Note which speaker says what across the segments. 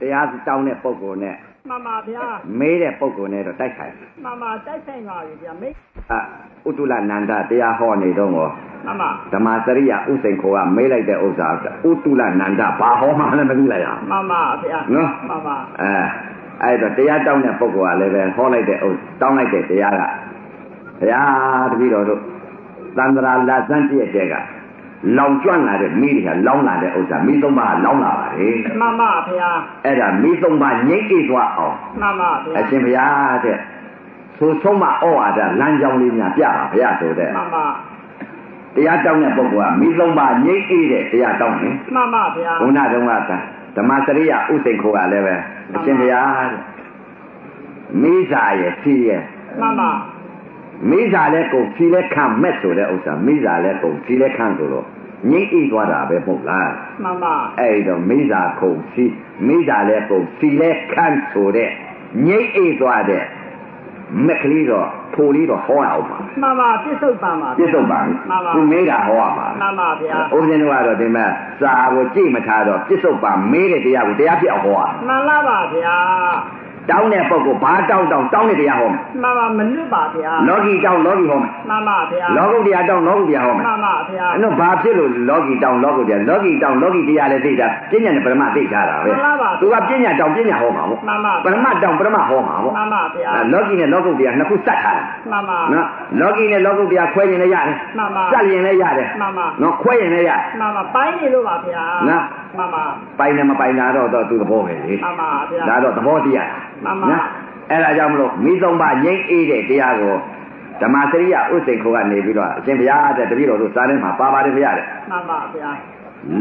Speaker 1: တရားတောင်းတဲ့ပုဂ္ဂိုလ်နဲ့
Speaker 2: မှန်ပါဗျာ
Speaker 1: မေးတဲ့ပုဂ္ဂိုလ်နဲ့တော့တိုက်ဆိုင်တယ်
Speaker 2: မှန်ပါတိုက်ဆိုင်ပါပြီဗျာမိတ်
Speaker 1: အဥတုလနန္ဒတရားဟောနေတော့ကို
Speaker 2: မှန်ပါ
Speaker 1: ဓမ္မစရိယဥစိန်ခိုကမေးလိုက်တဲ့ဥစ္စာဥတုလနန္ဒဘာဟောမှလည်းမသိလိုက်ရအောင်
Speaker 2: မှန်ပါဗျာ
Speaker 1: နော်
Speaker 2: မှန်ပါ
Speaker 1: အဲအဲ့တော့တရားတောင်းတဲ့ပုဂ္ဂိုလ်ကလည်းပဲဟောလိုက်တဲ့ဥစ္စာတောင်းလိုက်တဲ့တရားကဘုရားတပည့်တော်တို့သန္တရာလာဇန်တည့်ရက်တဲ့ကလောင်ကျွမ်းလာတဲ့မိတွေကလောင်လာတဲ့ဥစ္စာမိသုံးပါးကလောင်လာပါလေ
Speaker 2: မှန်ပါဗျာ
Speaker 1: အဲ့ဒါမိသုံးပါးငြိမ့်အေးသွားအောင်
Speaker 2: မှန်ပါဗျာ
Speaker 1: အရှင်ဘုရားတဲ့သူဆုံးမဩဝါဒလမ်းကြောင်းလေးများပြပါဘုရားဆိုတဲ့
Speaker 2: မှန်ပါ
Speaker 1: တရားတောင်းတဲ့ပုဂ္ဂိုလ်ကမိသုံးပါငြိမ့်အေးတဲ့တရားတောင်းတယ်
Speaker 2: မှန်ပါဗျာ
Speaker 1: ဘုနာတုံးကသာဓမ္မစရိယဥသိမ်ခိုကလည်းပဲအရှင်ဘုရားတဲ့မိစ္ဆာရဲ့ဖြီးရဲ့
Speaker 2: မှန်ပါ
Speaker 1: မိစ္ဆာလည်းကုန်ဖြီးလည်းခံမဲ့ဆိုတဲ့ဥစ္စာမိစ္ဆာလည်းကုန်ဖြီးလည်းခံဆိုတော့ငြိမ့်အေးသွားတာပဲမဟုတ်လား
Speaker 2: မှန်ပါ
Speaker 1: အဲ့ဒီတော့မိစ္ဆာကုန်ဖြီးမိစ္ဆာလည်းကုန်ဖြီးလည်းခံဆိုတဲ့ငြိမ့်အေးသွားတဲ့မက်ကလေးတော့ထိုလေးတော့ဟောရအောင်ပါ
Speaker 2: မှန်ပါပြစ်ဆုံးပါမှာ
Speaker 1: ပြစ်ဆုံးပါဘူး
Speaker 2: မှန်ပါ
Speaker 1: သူမေးတာဟောရပါ
Speaker 2: မှန်ပါဗျာ
Speaker 1: ဥပဒေတော်ကတော့ဒီမှာစာကိုကြိတ်မထားတော့ပြစ်ဆုံးပါမေးတဲ့တရားကိုတရားပြအောင်ဟောရ
Speaker 2: မှန်လားပါဗျာ
Speaker 1: တောင်းတဲ့ပုဂ္ဂိုလ်ဘာတောင်းတောင်းတောင်းတဲ့တရားဟောမယ်
Speaker 2: မှန်ပါမလွတ်ပါဗျာ
Speaker 1: လောကီတောင်းလောကီဟောမယ်
Speaker 2: မှန်ပါဗျာ
Speaker 1: လောကုတ်တရားတောင်းလောကုတ်တရားဟောမယ်
Speaker 2: မှန်ပါဗျာ
Speaker 1: အဲ့တော့ဘာဖြစ်လို့လောကီတောင်းလောကုတ်တရားလောကီတောင်းလောကီတရားလည်းသိတာပညာနဲ့ပရမသိကြတာပဲသူကပညာတောင်းပညာဟောမှာပေါ့
Speaker 2: မှန်ပါ
Speaker 1: ပရမတောင်းပရမဟောမှာပေါ့
Speaker 2: မှန်ပါဗျာ
Speaker 1: အဲ့လောကီနဲ့လောကုတ်တရားနှစ်ခုစက်ထားတာ
Speaker 2: မှန်ပါမှန်
Speaker 1: နော်လောကီနဲ့လောကုတ်တရားခွဲရင်လည်းရတယ်
Speaker 2: ပါမှန်
Speaker 1: စ
Speaker 2: ပါ
Speaker 1: က်ရင်လည်းရတယ်
Speaker 2: မှန်ပါ
Speaker 1: နော်ခွဲရင်လည်းရတယ်
Speaker 2: မမပိုင်းနေလို့ပါဗျာ
Speaker 1: နော်
Speaker 2: မမ
Speaker 1: ပိုင်နဲ့မပိုင်တာတော့တော့သူသဘောပဲလေ
Speaker 2: မမဗျာ
Speaker 1: ဒါတော့သဘောတရား
Speaker 2: မှန်ပါ
Speaker 1: အဲ့ဒါကြောင့်မလို့မိသုံးပါငိမ့်အေးတဲ့တရားကိုဓမ္မစရိယဥစိန်ခိုကနေပြီးတော့အရှင်ဘုရားတဲ့တပည့်တော်တို့စားတဲ့မှာပါပါတယ်ဘုရားတဲ့
Speaker 2: မမဗျာ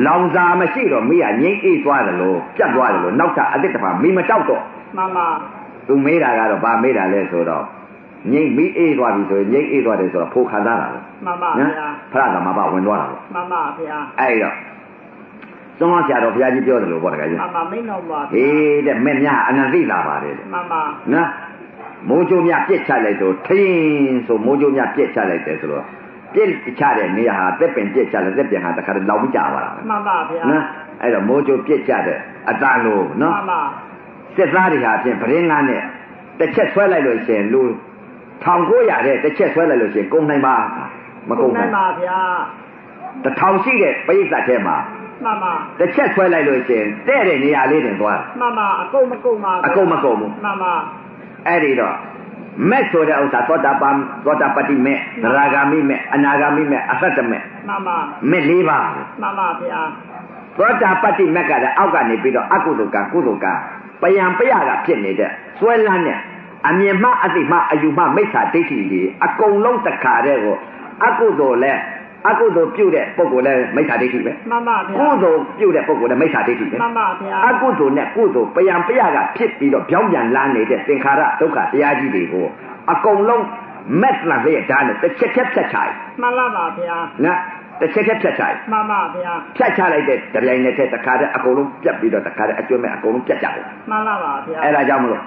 Speaker 1: လောင်စာမရှိတော့မိကငိမ့်အေးသွားတယ်လို့ပြတ်သွားတယ်လို့နောက်ထပ်အစ်စ်တစ်ပါမိမတောက်တော့
Speaker 2: မမ
Speaker 1: သူမေးတာကတော့ဗာမေးတာလဲဆိုတော့ငိမ့်မိအေးသွားပြီဆိုရင်ငိမ့်အေးသွားတယ်ဆိုတော့ဖိုခံစားတာလို့
Speaker 2: မမဗျာ
Speaker 1: ဖရကမှာပါဝင်သွားတာလို့
Speaker 2: မမဗျာ
Speaker 1: အဲ့တော့သုံးအောင်ဆရာတော်ဘုရားကြီးပြောတယ်လို့ပေါ့တကယ်ကြီး
Speaker 2: မမမိတ်တော်ပါ
Speaker 1: ဟေးတဲ့မဲ့များအနန္တိလာပါတယ်တဲ့
Speaker 2: မမ
Speaker 1: နော်မိုးကြိုးများပြစ်ချလိုက်တော့ထင်းဆိုမိုးကြိုးများပြစ်ချလိုက်တယ်ဆိုတော့ပြစ်ချတဲ့နေရာဟာသက်ပင်ပြစ်ချလိုက်သက်ပင်ဟာတခါတည်းလောက်ပြီးကြပါလား
Speaker 2: မမဗျာ
Speaker 1: နော်အဲ့တော့မိုးကြိုးပြစ်ချတဲ့အတန်လို့
Speaker 2: မ
Speaker 1: နော်
Speaker 2: မ
Speaker 1: စစ်သားတွေဟာအပြင်ပရင်းငန်းနဲ့တစ်ချက်ဆွဲလိုက်လို့ရှရင်လူ1900တဲ့တစ်ချက်ဆွဲလိုက်လို့ရှရင်ကုန်နိုင်ပါမကုန်နိုင်
Speaker 2: ပါဗျာ
Speaker 1: တစ်ထောင်ရှိတဲ့ပိဿတ်ထဲမှာ
Speaker 2: မမ
Speaker 1: တစ်ချက်ဆွဲလိုက်လို့ရှရင်တဲ့တဲ့နေရာလေးတင်သွားတယ်
Speaker 2: မမအကုန်မကုန်ပါ
Speaker 1: အကုန်မကုန်ဘူး
Speaker 2: မမ
Speaker 1: အဲ့ဒီတော့မက်ဆိုတဲ့ဥစ္စာသောတာပန်သောတာပတ္တိမက်သရဂါမိမက်အနာဂါမိမက်အသတ္တမက်
Speaker 2: မမ
Speaker 1: မက်၄ပါး
Speaker 2: မမဗျာ
Speaker 1: သောတာပတ္တိမက်ကလည်းအောက်ကနေပြီးတော့အကုသိုလ်ကံကုသိုလ်ကံပယံပယကဖြစ်နေတဲ့စွဲလန်းနဲ့အမြင်မှအသိမှအယူမှမိစ္ဆာဒိဋ္ဌိတွေအကုန်လုံးတစ်ခါတည်းကိုအကုသိုလ်လဲအကုသိုလ်ပြုတဲ့ပုဂ္ဂိုလ်လဲမိစ္ဆာဒိဋ္ဌိပဲ
Speaker 2: မမဗျာ
Speaker 1: ကုသိုလ်ပြုတဲ့ပုဂ္ဂိုလ်လဲမိစ္ဆာဒိဋ္ဌိပဲ
Speaker 2: မမဗျာ
Speaker 1: အကုသိုလ်နဲ့ကုသိုလ်ပယံပယကဖြစ်ပြီးတော့ပြောင်းပြန်လာနေတဲ့သင်္ခါရဒုက္ခတရားကြီးတွေကိုအကုန်လုံးမက်လာရဲ့ဓာတ်နဲ့တစ်ချက်ချက်ဖြတ်ချလိုက်
Speaker 2: မလာပါဗျာ
Speaker 1: နော်တစ်ချက်ချက်ဖြတ်ချလိုက်
Speaker 2: မမဗျာ
Speaker 1: ဖြတ်ချလိုက်တဲ့ကြိုင်နဲ့တစ်ခါတည်းအကုန်လုံးပြတ်ပြီးတော့တစ်ခါတည်းအကျွမ်းမဲ့အကုန်လုံးပြတ်ကြတယ်
Speaker 2: မလာပါဗျာ
Speaker 1: အဲ့ဒါကြောင့်မလို့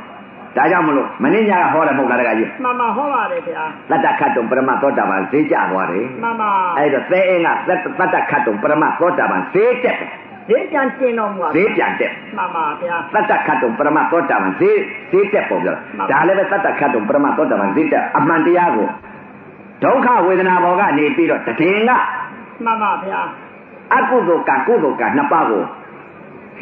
Speaker 1: ဒါကြောင့်မလို့မင်းညာကဟောတယ်မဟုတ်လားတကကြီး
Speaker 2: မမဟောပါတယ်ဗျာ
Speaker 1: တတ္တခတ်တုံပရမသောတာပန်ဈေးကြသွားတယ်
Speaker 2: မမ
Speaker 1: အဲ့တော့သဲအင်းကတတ္တတ္တခတ်တုံပရမသောတာပန်ဈေးတက်တယ်
Speaker 2: ဈေးပြန်ကျင်တော်မူပါ
Speaker 1: ဈေးပြန်တက်
Speaker 2: မမဗျာ
Speaker 1: သတ္တခတ်တုံပရမသောတာပန်ဈေးဈေးတက်ပေါ်ပြော
Speaker 2: မှန်ပါ
Speaker 1: ဒါလည်းပဲသတ္တခတ်တုံပရမသောတာပန်ဈေးတက်အမှန်တရားကိုဒုက္ခဝေဒနာဘောကနေပြီးတော့တည်ငါ
Speaker 2: မမဗျာ
Speaker 1: အကုသိုလ်ကကုသိုလ်ကနှစ်ပါးကို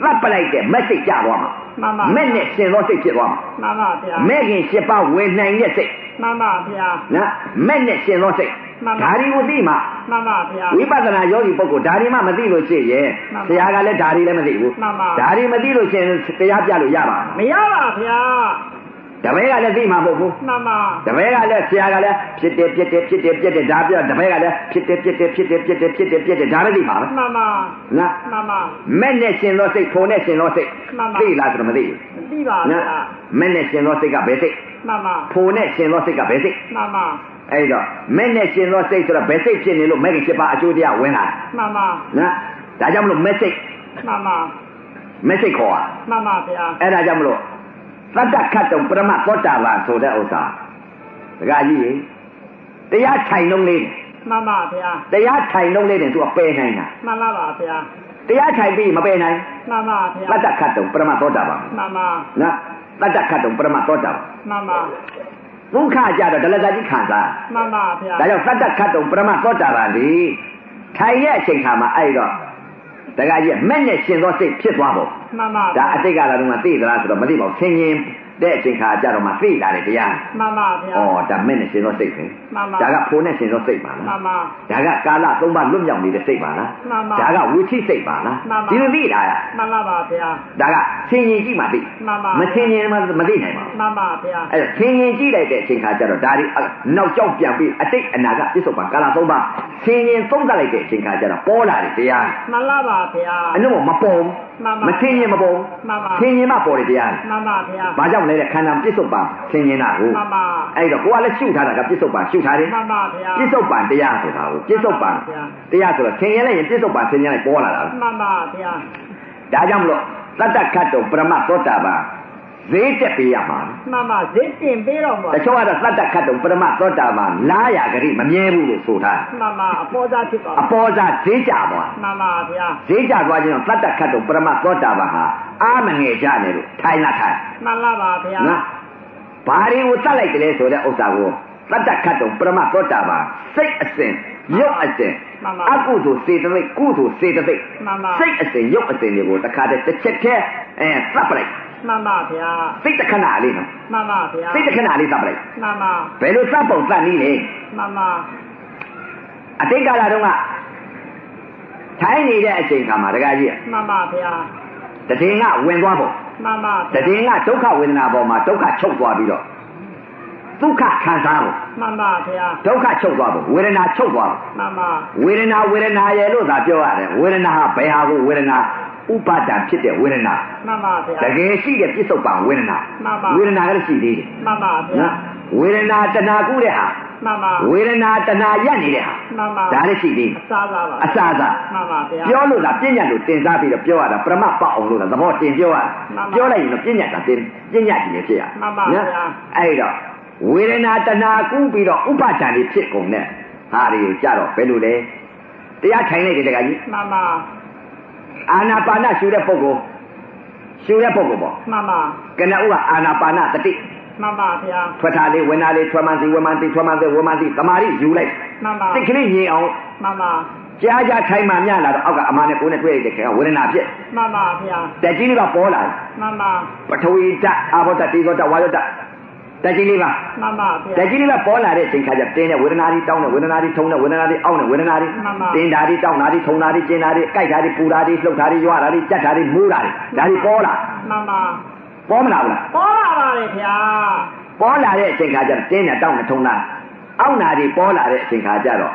Speaker 1: သတ်ပလိုက်တဲ့မက်စိတ်ကြသွားမှာ
Speaker 2: မမ
Speaker 1: မက်နဲ့ရှင်သောစိတ်ဖြစ်သွားမှာ
Speaker 2: မမဗျာ
Speaker 1: မက်ခင်ရှစ်ပါးဝေနိုင်တဲ့စိတ်
Speaker 2: မမဗျာ
Speaker 1: နော်မက်နဲ့ရှင်သောစိတ်
Speaker 2: မှန်ပါ
Speaker 1: ဒါတွေကိုသိမှ
Speaker 2: မမဗျာ
Speaker 1: ဝိပဿနာယောဂီပုဂ္ဂိုလ်ဒါတွေမှမသိလို့ရှိရင်
Speaker 2: မှန်ပါ
Speaker 1: ဆရာကလည်းဒါတွေလည်းမသိဘူး
Speaker 2: မှန်ပါ
Speaker 1: ဒါတွေမသိလို့ရှိရင်တရားပြလို့ရပါ
Speaker 2: မရပါဗျာ
Speaker 1: တပည့်ကလည်းသိမှာမဟုတ်ဘူး
Speaker 2: မမ
Speaker 1: တပည့်ကလည်းဆရာကလည်းဖြစ်တယ်ဖြစ်တယ်ဖြစ်တယ်ဖြစ်တယ်ဒါပြောတပည့်ကလည်းဖြစ်တယ်ဖြစ်တယ်ဖြစ်တယ်ဖြစ်တယ်ဖြစ်တယ်ဖြစ်တယ်ဒါလည်းသိပါလား
Speaker 2: မမ
Speaker 1: နော်
Speaker 2: မမ
Speaker 1: မဲ့နဲ့ရှင်သောစိတ်ဖုံနဲ့ရှင်သောစိတ်
Speaker 2: မှန်ပါ
Speaker 1: သိလားဆိုတော့မသိ
Speaker 2: မသိပါ
Speaker 1: ဘူးနော်
Speaker 2: ဗျာ
Speaker 1: မဲ့နဲ့ရှင်သောစိတ်ကဘယ်စိတ်
Speaker 2: မမ
Speaker 1: ဖုံနဲ့ရှင်သောစိတ်ကဘယ်စိတ်
Speaker 2: မမ
Speaker 1: အဲ့တော့မဲ့နဲ့ရှင်သောစိတ်ဆိုတော့ဘယ်စိတ်ဖြစ်နေလို့မဲ့ကဖြစ်ပါအကျိုးတရားဝင်လာ
Speaker 2: မမ
Speaker 1: တာနော်ဒါကြောင့်မလို့မဲ့စိတ်
Speaker 2: မမ
Speaker 1: မဲ့စိတ်ခေါ်တာ
Speaker 2: မမဗျာ
Speaker 1: အဲ့ဒါကြောင့်မလို့သတ္တခတ်တုံပရမသောတာပန်ဆိုတဲ့ဥစ္စာဒကာကြီးရေတရားထိုင်လုံးလေး
Speaker 2: မမဗျာ
Speaker 1: တရားထိုင်လုံးလေးနဲ့သူကပယ်နိုင်တာ
Speaker 2: မလာပါဗျာ
Speaker 1: တရားထိုင်ပြီးမပယ်နိုင်
Speaker 2: မှန်ပါဗျာ
Speaker 1: တတ္တခတ်တုံပရမသောတာပန်
Speaker 2: မှန်ပါ
Speaker 1: နော်တတ္တခတ်တုံပရမသောတာပန်
Speaker 2: မှန်ပါ
Speaker 1: ဒုက္ခကြတော့ဒလဇာကြီးခံစား
Speaker 2: မှန်ပါဗျာ
Speaker 1: ဒါကြောင့်တတ္တခတ်တုံပရမသောတာပန်ဒီထိုင်ရဲ့အချိန်ခါမှာအဲ့တော့တခါကြီးကမဲ့နဲ့ရှင်သောစိတ်ဖြစ်သွားပေါ့
Speaker 2: မှန်ပါ
Speaker 1: ဒါအတိတ်ကလာတော့မှသိသလားဆိုတော့မသိပါဘူးဆင်ရင်တဲ့အချိန်ခါကြတော့မှသိလာတယ်တရား
Speaker 2: မှန်ပါဗျာ
Speaker 1: ဩဒါမဲ့နဲ့ရှင်သောစိတ်ပဲ
Speaker 2: မှန်ပါ
Speaker 1: ဒါကဖိုးနဲ့ရှင်သောစိတ်ပါ
Speaker 2: မှ
Speaker 1: လား
Speaker 2: န်ပါ
Speaker 1: ဒါကကာလသုံးပါလွတ်မြောက်နေတဲ့စိတ်ပါလား
Speaker 2: မှန်ပါ
Speaker 1: ဒါကဝိသိစိတ်ပါလား
Speaker 2: မှန်ပါ
Speaker 1: ဒီလိုသိတာရ
Speaker 2: မှန်လားပါဗျာ
Speaker 1: ဒါကသင်ញင်ကြည့်မှသိ
Speaker 2: မှန်ပါ
Speaker 1: မသင်ញင်မှမသိနိုင်ပါဘူး
Speaker 2: မှန်ပါဗျာ
Speaker 1: အဲ့တော့သင်ញင်ကြည့်လိုက်တဲ့အချိန်ခါကျတော့ဒါဒီအဲ့နောက်ကြောက်ပြန်ပြီးအတိတ်အနာကပြစ္ဆုတ်ပါကာလသုံးပါသင်ញင်သုံးသပ်လိုက်တဲ့အချိန်ခါကျတော့ပေါ်လာတယ်တရား
Speaker 2: မှန်လားပါဗျာ
Speaker 1: အလုံးမပေါ်ဘူး
Speaker 2: မှန်ပါ
Speaker 1: မသင်ញင်မပေါ်
Speaker 2: မှန်ပါ
Speaker 1: ဘူးသင်ញင်မှပေါ်တယ်တရား
Speaker 2: မှန်ပါဗျာ
Speaker 1: ဘာကြောင့်လဲတဲ့ခန္ဓာပြစ္ဆုတ်ပါသင်ញင်တာကို
Speaker 2: မှန်ပါ
Speaker 1: အဲ့တော့ကိုကလည်းရှုထားတာကပြစ္ဆုတ်ပါရှုထားတယ်
Speaker 2: မှန်ပါဗျာ
Speaker 1: ပြစ္ဆုတ်ပံတရားဆိုတာကိုပြစ္ဆုတ်ပံ
Speaker 2: မှန်ပါဗျာ
Speaker 1: တရားဆိုတော့ဆင်ရဲလိုက်ရင်ပြစ္ဆုတ်ပံဆင်ရဲလိုက်ပေါ်လာတာပဲ
Speaker 2: မှန်ပါဗျာ
Speaker 1: ဒါကြောင့်မလို့တတ္တခတ်တော့ပရမသောတာပန်ဈေးတက်ပေးရမှာ
Speaker 2: မှန်ပါဈေးတင်ပေးတော့မှာ
Speaker 1: တချို့ကတော့တတ္တခတ်တော့ပရမသောတာပန်လာရကြတိမမြဲဘူးလို့ဆိုတာ
Speaker 2: မှန်ပါအပေါ်စားဖြစ်ပါ
Speaker 1: အပေါ်စားဈေးကြသွား
Speaker 2: မှန်ပါဗျာ
Speaker 1: ဈေးကြသွားခြင်းတော့တတ္တခတ်တော့ပရမသောတာပန်ဟာအာမငယ်ကြနေလို့ထိုင်လာထိုင်
Speaker 2: မှန်လားပါဗျာ
Speaker 1: နော်ဘာတွေကိုတတ်လိုက်တယ်လဲဆိုတဲ့ဥစ္စာကိုတတ္တခတ်တော့ပရမသောတာပန်စိတ်အစဉ်ရုပ်အစဉ်
Speaker 2: မှန်ပါ
Speaker 1: အကုသိုလ်စေတသိက်ကုသိုလ်စေတသိက်
Speaker 2: မှန်ပါ
Speaker 1: စိတ်အစဉ်ရုပ်အစဉ်တွေကိုတစ်ခါတည်းတစ်ချက်တည်းအဲသတ်ပလိုက်
Speaker 2: မှန်ပါဗျာ
Speaker 1: စိတ်တစ်ခဏလေးနော်
Speaker 2: မှန်ပါဗျာ
Speaker 1: စိတ်တစ်ခဏလေးသတ်ပလိုက်
Speaker 2: မှန်ပါ
Speaker 1: ဘယ်လိုသတ်ပုံသတ်နည်းလဲ
Speaker 2: မှန်ပါ
Speaker 1: အတိတ်ကာလတုန်းကထိုင်းနေတဲ့အချိန်ခါမှာတခါကြီးက
Speaker 2: မှန်ပါဗျာ
Speaker 1: တည်ငါဝင်သွားပုံ
Speaker 2: မှန်ပါ
Speaker 1: တည်ငါဒုက္ခဝေဒနာပေါ်မှာဒုက္ခချုပ်သွားပြီးတော့ဒုက္ခခံစားပုံ
Speaker 2: မှန်ပါဗျာ
Speaker 1: ဒုက္ခချုပ်သွားပုံဝေဒနာချုပ်သွားပုံ
Speaker 2: မှန်ပါ
Speaker 1: ဝေဒနာဝေဒနာရဲ့လို့သာပြောရတယ်ဝေဒနာဟာဘယ်ဟာကိုဝေဒနာဥပါဒံဖြစ်တဲ့ဝေဒနာ
Speaker 2: မှန်ပါဗျာ
Speaker 1: တကယ်ရှိတဲ့ပြစ္ဆုတ်ပံဝေဒနာ
Speaker 2: မှန်ပါ
Speaker 1: ဝေဒနာကလည်းရှိသေးတယ်
Speaker 2: မှန်ပါဗျာ
Speaker 1: နော်ဝေဒနာတဏှာကုတဲ့ဟာ
Speaker 2: မှန်ပါ
Speaker 1: ဝေဒနာတဏှာရက်နေတဲ့ဟာ
Speaker 2: မှန်ပါ
Speaker 1: ဒါလည်းရှိသေးတယ်
Speaker 2: အစားစားပါ
Speaker 1: အစအစ
Speaker 2: မှန်ပါဗျာ
Speaker 1: ပြောလို့လားပြဉ္ညာလို့တင်စားပြီးတော့ပြောရတာပရမတ်ပအောင်လို့လားသဘောတင်ပြောရတာ
Speaker 2: မှန်ပါ
Speaker 1: ပြောလိုက်ရင်တော့ပြဉ္ညာတာတင်ပြဉ္ညာကြီးလည်းဖြစ်ရ
Speaker 2: မှန်ပါဗျာ
Speaker 1: အဲ့တော့ဝေဒနာတဏှာကုပြီးတော့ဥပါဒဏ်တွေဖြစ်ကုန်တဲ့ဟာတွေကိုကြတော့ဘယ်လိုလဲတရားထိုင်လိုက်တဲ့တကကြီး
Speaker 2: မှန်ပါ
Speaker 1: အာနာပါနရှုတဲ့ပုဂ္ဂိုလ်ရှုတဲ့ပုဂ္ဂိုလ်ပေါ့
Speaker 2: မှန်ပါ
Speaker 1: ကနဥကအာနာပါနတတိ
Speaker 2: မှန်ပါဗျာ
Speaker 1: ထွက်တာလေးဝင်တာလေးထွက်မှန်စီဝင်မှန်စီထွက်မှန်စီဝင်မှန်စီသမာဓိယူလိုက်
Speaker 2: မှန်ပါ
Speaker 1: စိတ်ကလေးငြိမ်အောင်
Speaker 2: မှန်ပါ
Speaker 1: ကြားကြားထိုင်မှမျှလာတော့အောက်ကအမှန်နဲ့ကိုယ်နဲ့တွေ့ရတဲ့ခင်ကဝေဒနာဖြစ်
Speaker 2: မှန်ပါဗျာ
Speaker 1: တက်ကြီးလေးပါပေါ်လာတယ်
Speaker 2: မှန်ပါ
Speaker 1: ပထဝီဓာတ်အာဘောဓာတ်တေဇောဓာတ်ဝါယောဓာတ်တက်ကြီးလေးပါ
Speaker 2: မှန်ပါဗျာ
Speaker 1: တက်ကြီးလေးပါပေါ်လာတဲ့အချိန်ခါကျတင်းတဲ့ဝေဒနာတွေတောင်းတဲ့ဝေဒနာတွေထုံတဲ့ဝေဒနာတွေအောင့်တဲ့ဝေဒနာတွေ
Speaker 2: မှန်ပါ
Speaker 1: တင်းတာတွေတောင်းတာတွေထုံတာတွေကျင်းတာတွေကြိုက်တာတွေပူတာတွေလှုပ်တာတွေရွာတာတွေကြက်တာတွေမူးတာတွေဒါတွေပေါ်လာ
Speaker 2: မှန်ပါ
Speaker 1: ပေါ်မလာဘူးလား
Speaker 2: ပေါ်လာပါလေဗျာ
Speaker 1: ပေါ်လာတဲ့အချိန်ခါကျတင်းတဲ့တောင်းတဲ့ထုံတာအောင့်တာတွေပေါ်လာတဲ့အချိန်ခါကျတော့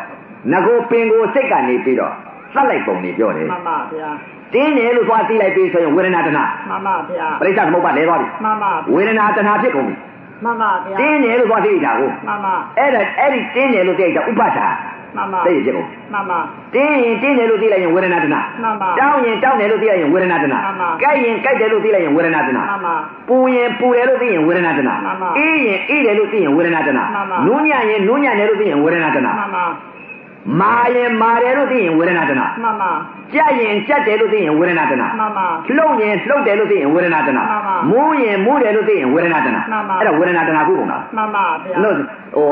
Speaker 1: ငကိုပင်ကိုစိတ်ကနေပြီးတော့သတ်လိုက်ပုံနေပြောတယ်
Speaker 2: မှန်ပါဗျာ
Speaker 1: တင်းတယ်လို့သွားသိလိုက်ပြီဆိုရင်ဝေဒနာတဏှာ
Speaker 2: မှန်ပါဗျာ
Speaker 1: ပရိစ္ဆသမုပ္ပါလဲသွားပြီ
Speaker 2: မှန်ပါ
Speaker 1: ဝေဒနာတဏှာဖြစ်ကုန်ပြီ
Speaker 2: မှန်ပါဗျာ
Speaker 1: တင်းတယ်လို့သွားသိလိုက်တာကို
Speaker 2: မှန်ပါ
Speaker 1: အဲ့ဒါအဲ့ဒီတင်းတယ်လို့သိလိုက်တာဥပါဒါ
Speaker 2: မှန်ပါ
Speaker 1: သိရဖြစ်ကုန်
Speaker 2: မှန်ပါ
Speaker 1: တင်းရင်တင်းတယ်လို့သိလိုက်ရင်ဝေဒနာတဏှာ
Speaker 2: မှန်ပါ
Speaker 1: တောင်းရင်တောင်းတယ်လို့သိလိုက်ရင်ဝေဒနာတဏှာ
Speaker 2: မှန်ပါ
Speaker 1: ကြိုက်ရင်ကြိုက်တယ်လို့သိလိုက်ရင်ဝေဒနာတဏှာ
Speaker 2: မှန်ပါ
Speaker 1: ပူရင်ပူတယ်လို့သိရင်ဝေဒနာတဏှာ
Speaker 2: မှန်ပါ
Speaker 1: အေးရင်အေးတယ်လို့သိရင်ဝေဒနာတဏှာ
Speaker 2: မှန်ပါ
Speaker 1: နူးညံ့ရင်နူးညံ့တယ်လို့သိရင်ဝေဒနာတဏှာ
Speaker 2: မှန်ပါ
Speaker 1: မာရင်မာတယ်လို့သိရင်ဝေဒနာတဏှာ
Speaker 2: မှန်ပါ
Speaker 1: ကြက်ရင်ကြက်တယ်လို့သိရင်ဝေဒနာတဏှာ
Speaker 2: မှန်ပါ
Speaker 1: လှုပ်ရင်လှုပ်တယ်လို့သိရင်ဝေဒနာတနာ
Speaker 2: မှန်ပါ
Speaker 1: မိုးရင်မိုးတယ်လို့သိရင်ဝေဒနာတနာ
Speaker 2: မှန်ပါ
Speaker 1: ဒါဝေဒနာတနာခုကုန်တာ
Speaker 2: မှန်ပါဗျာ
Speaker 1: လို့ဟို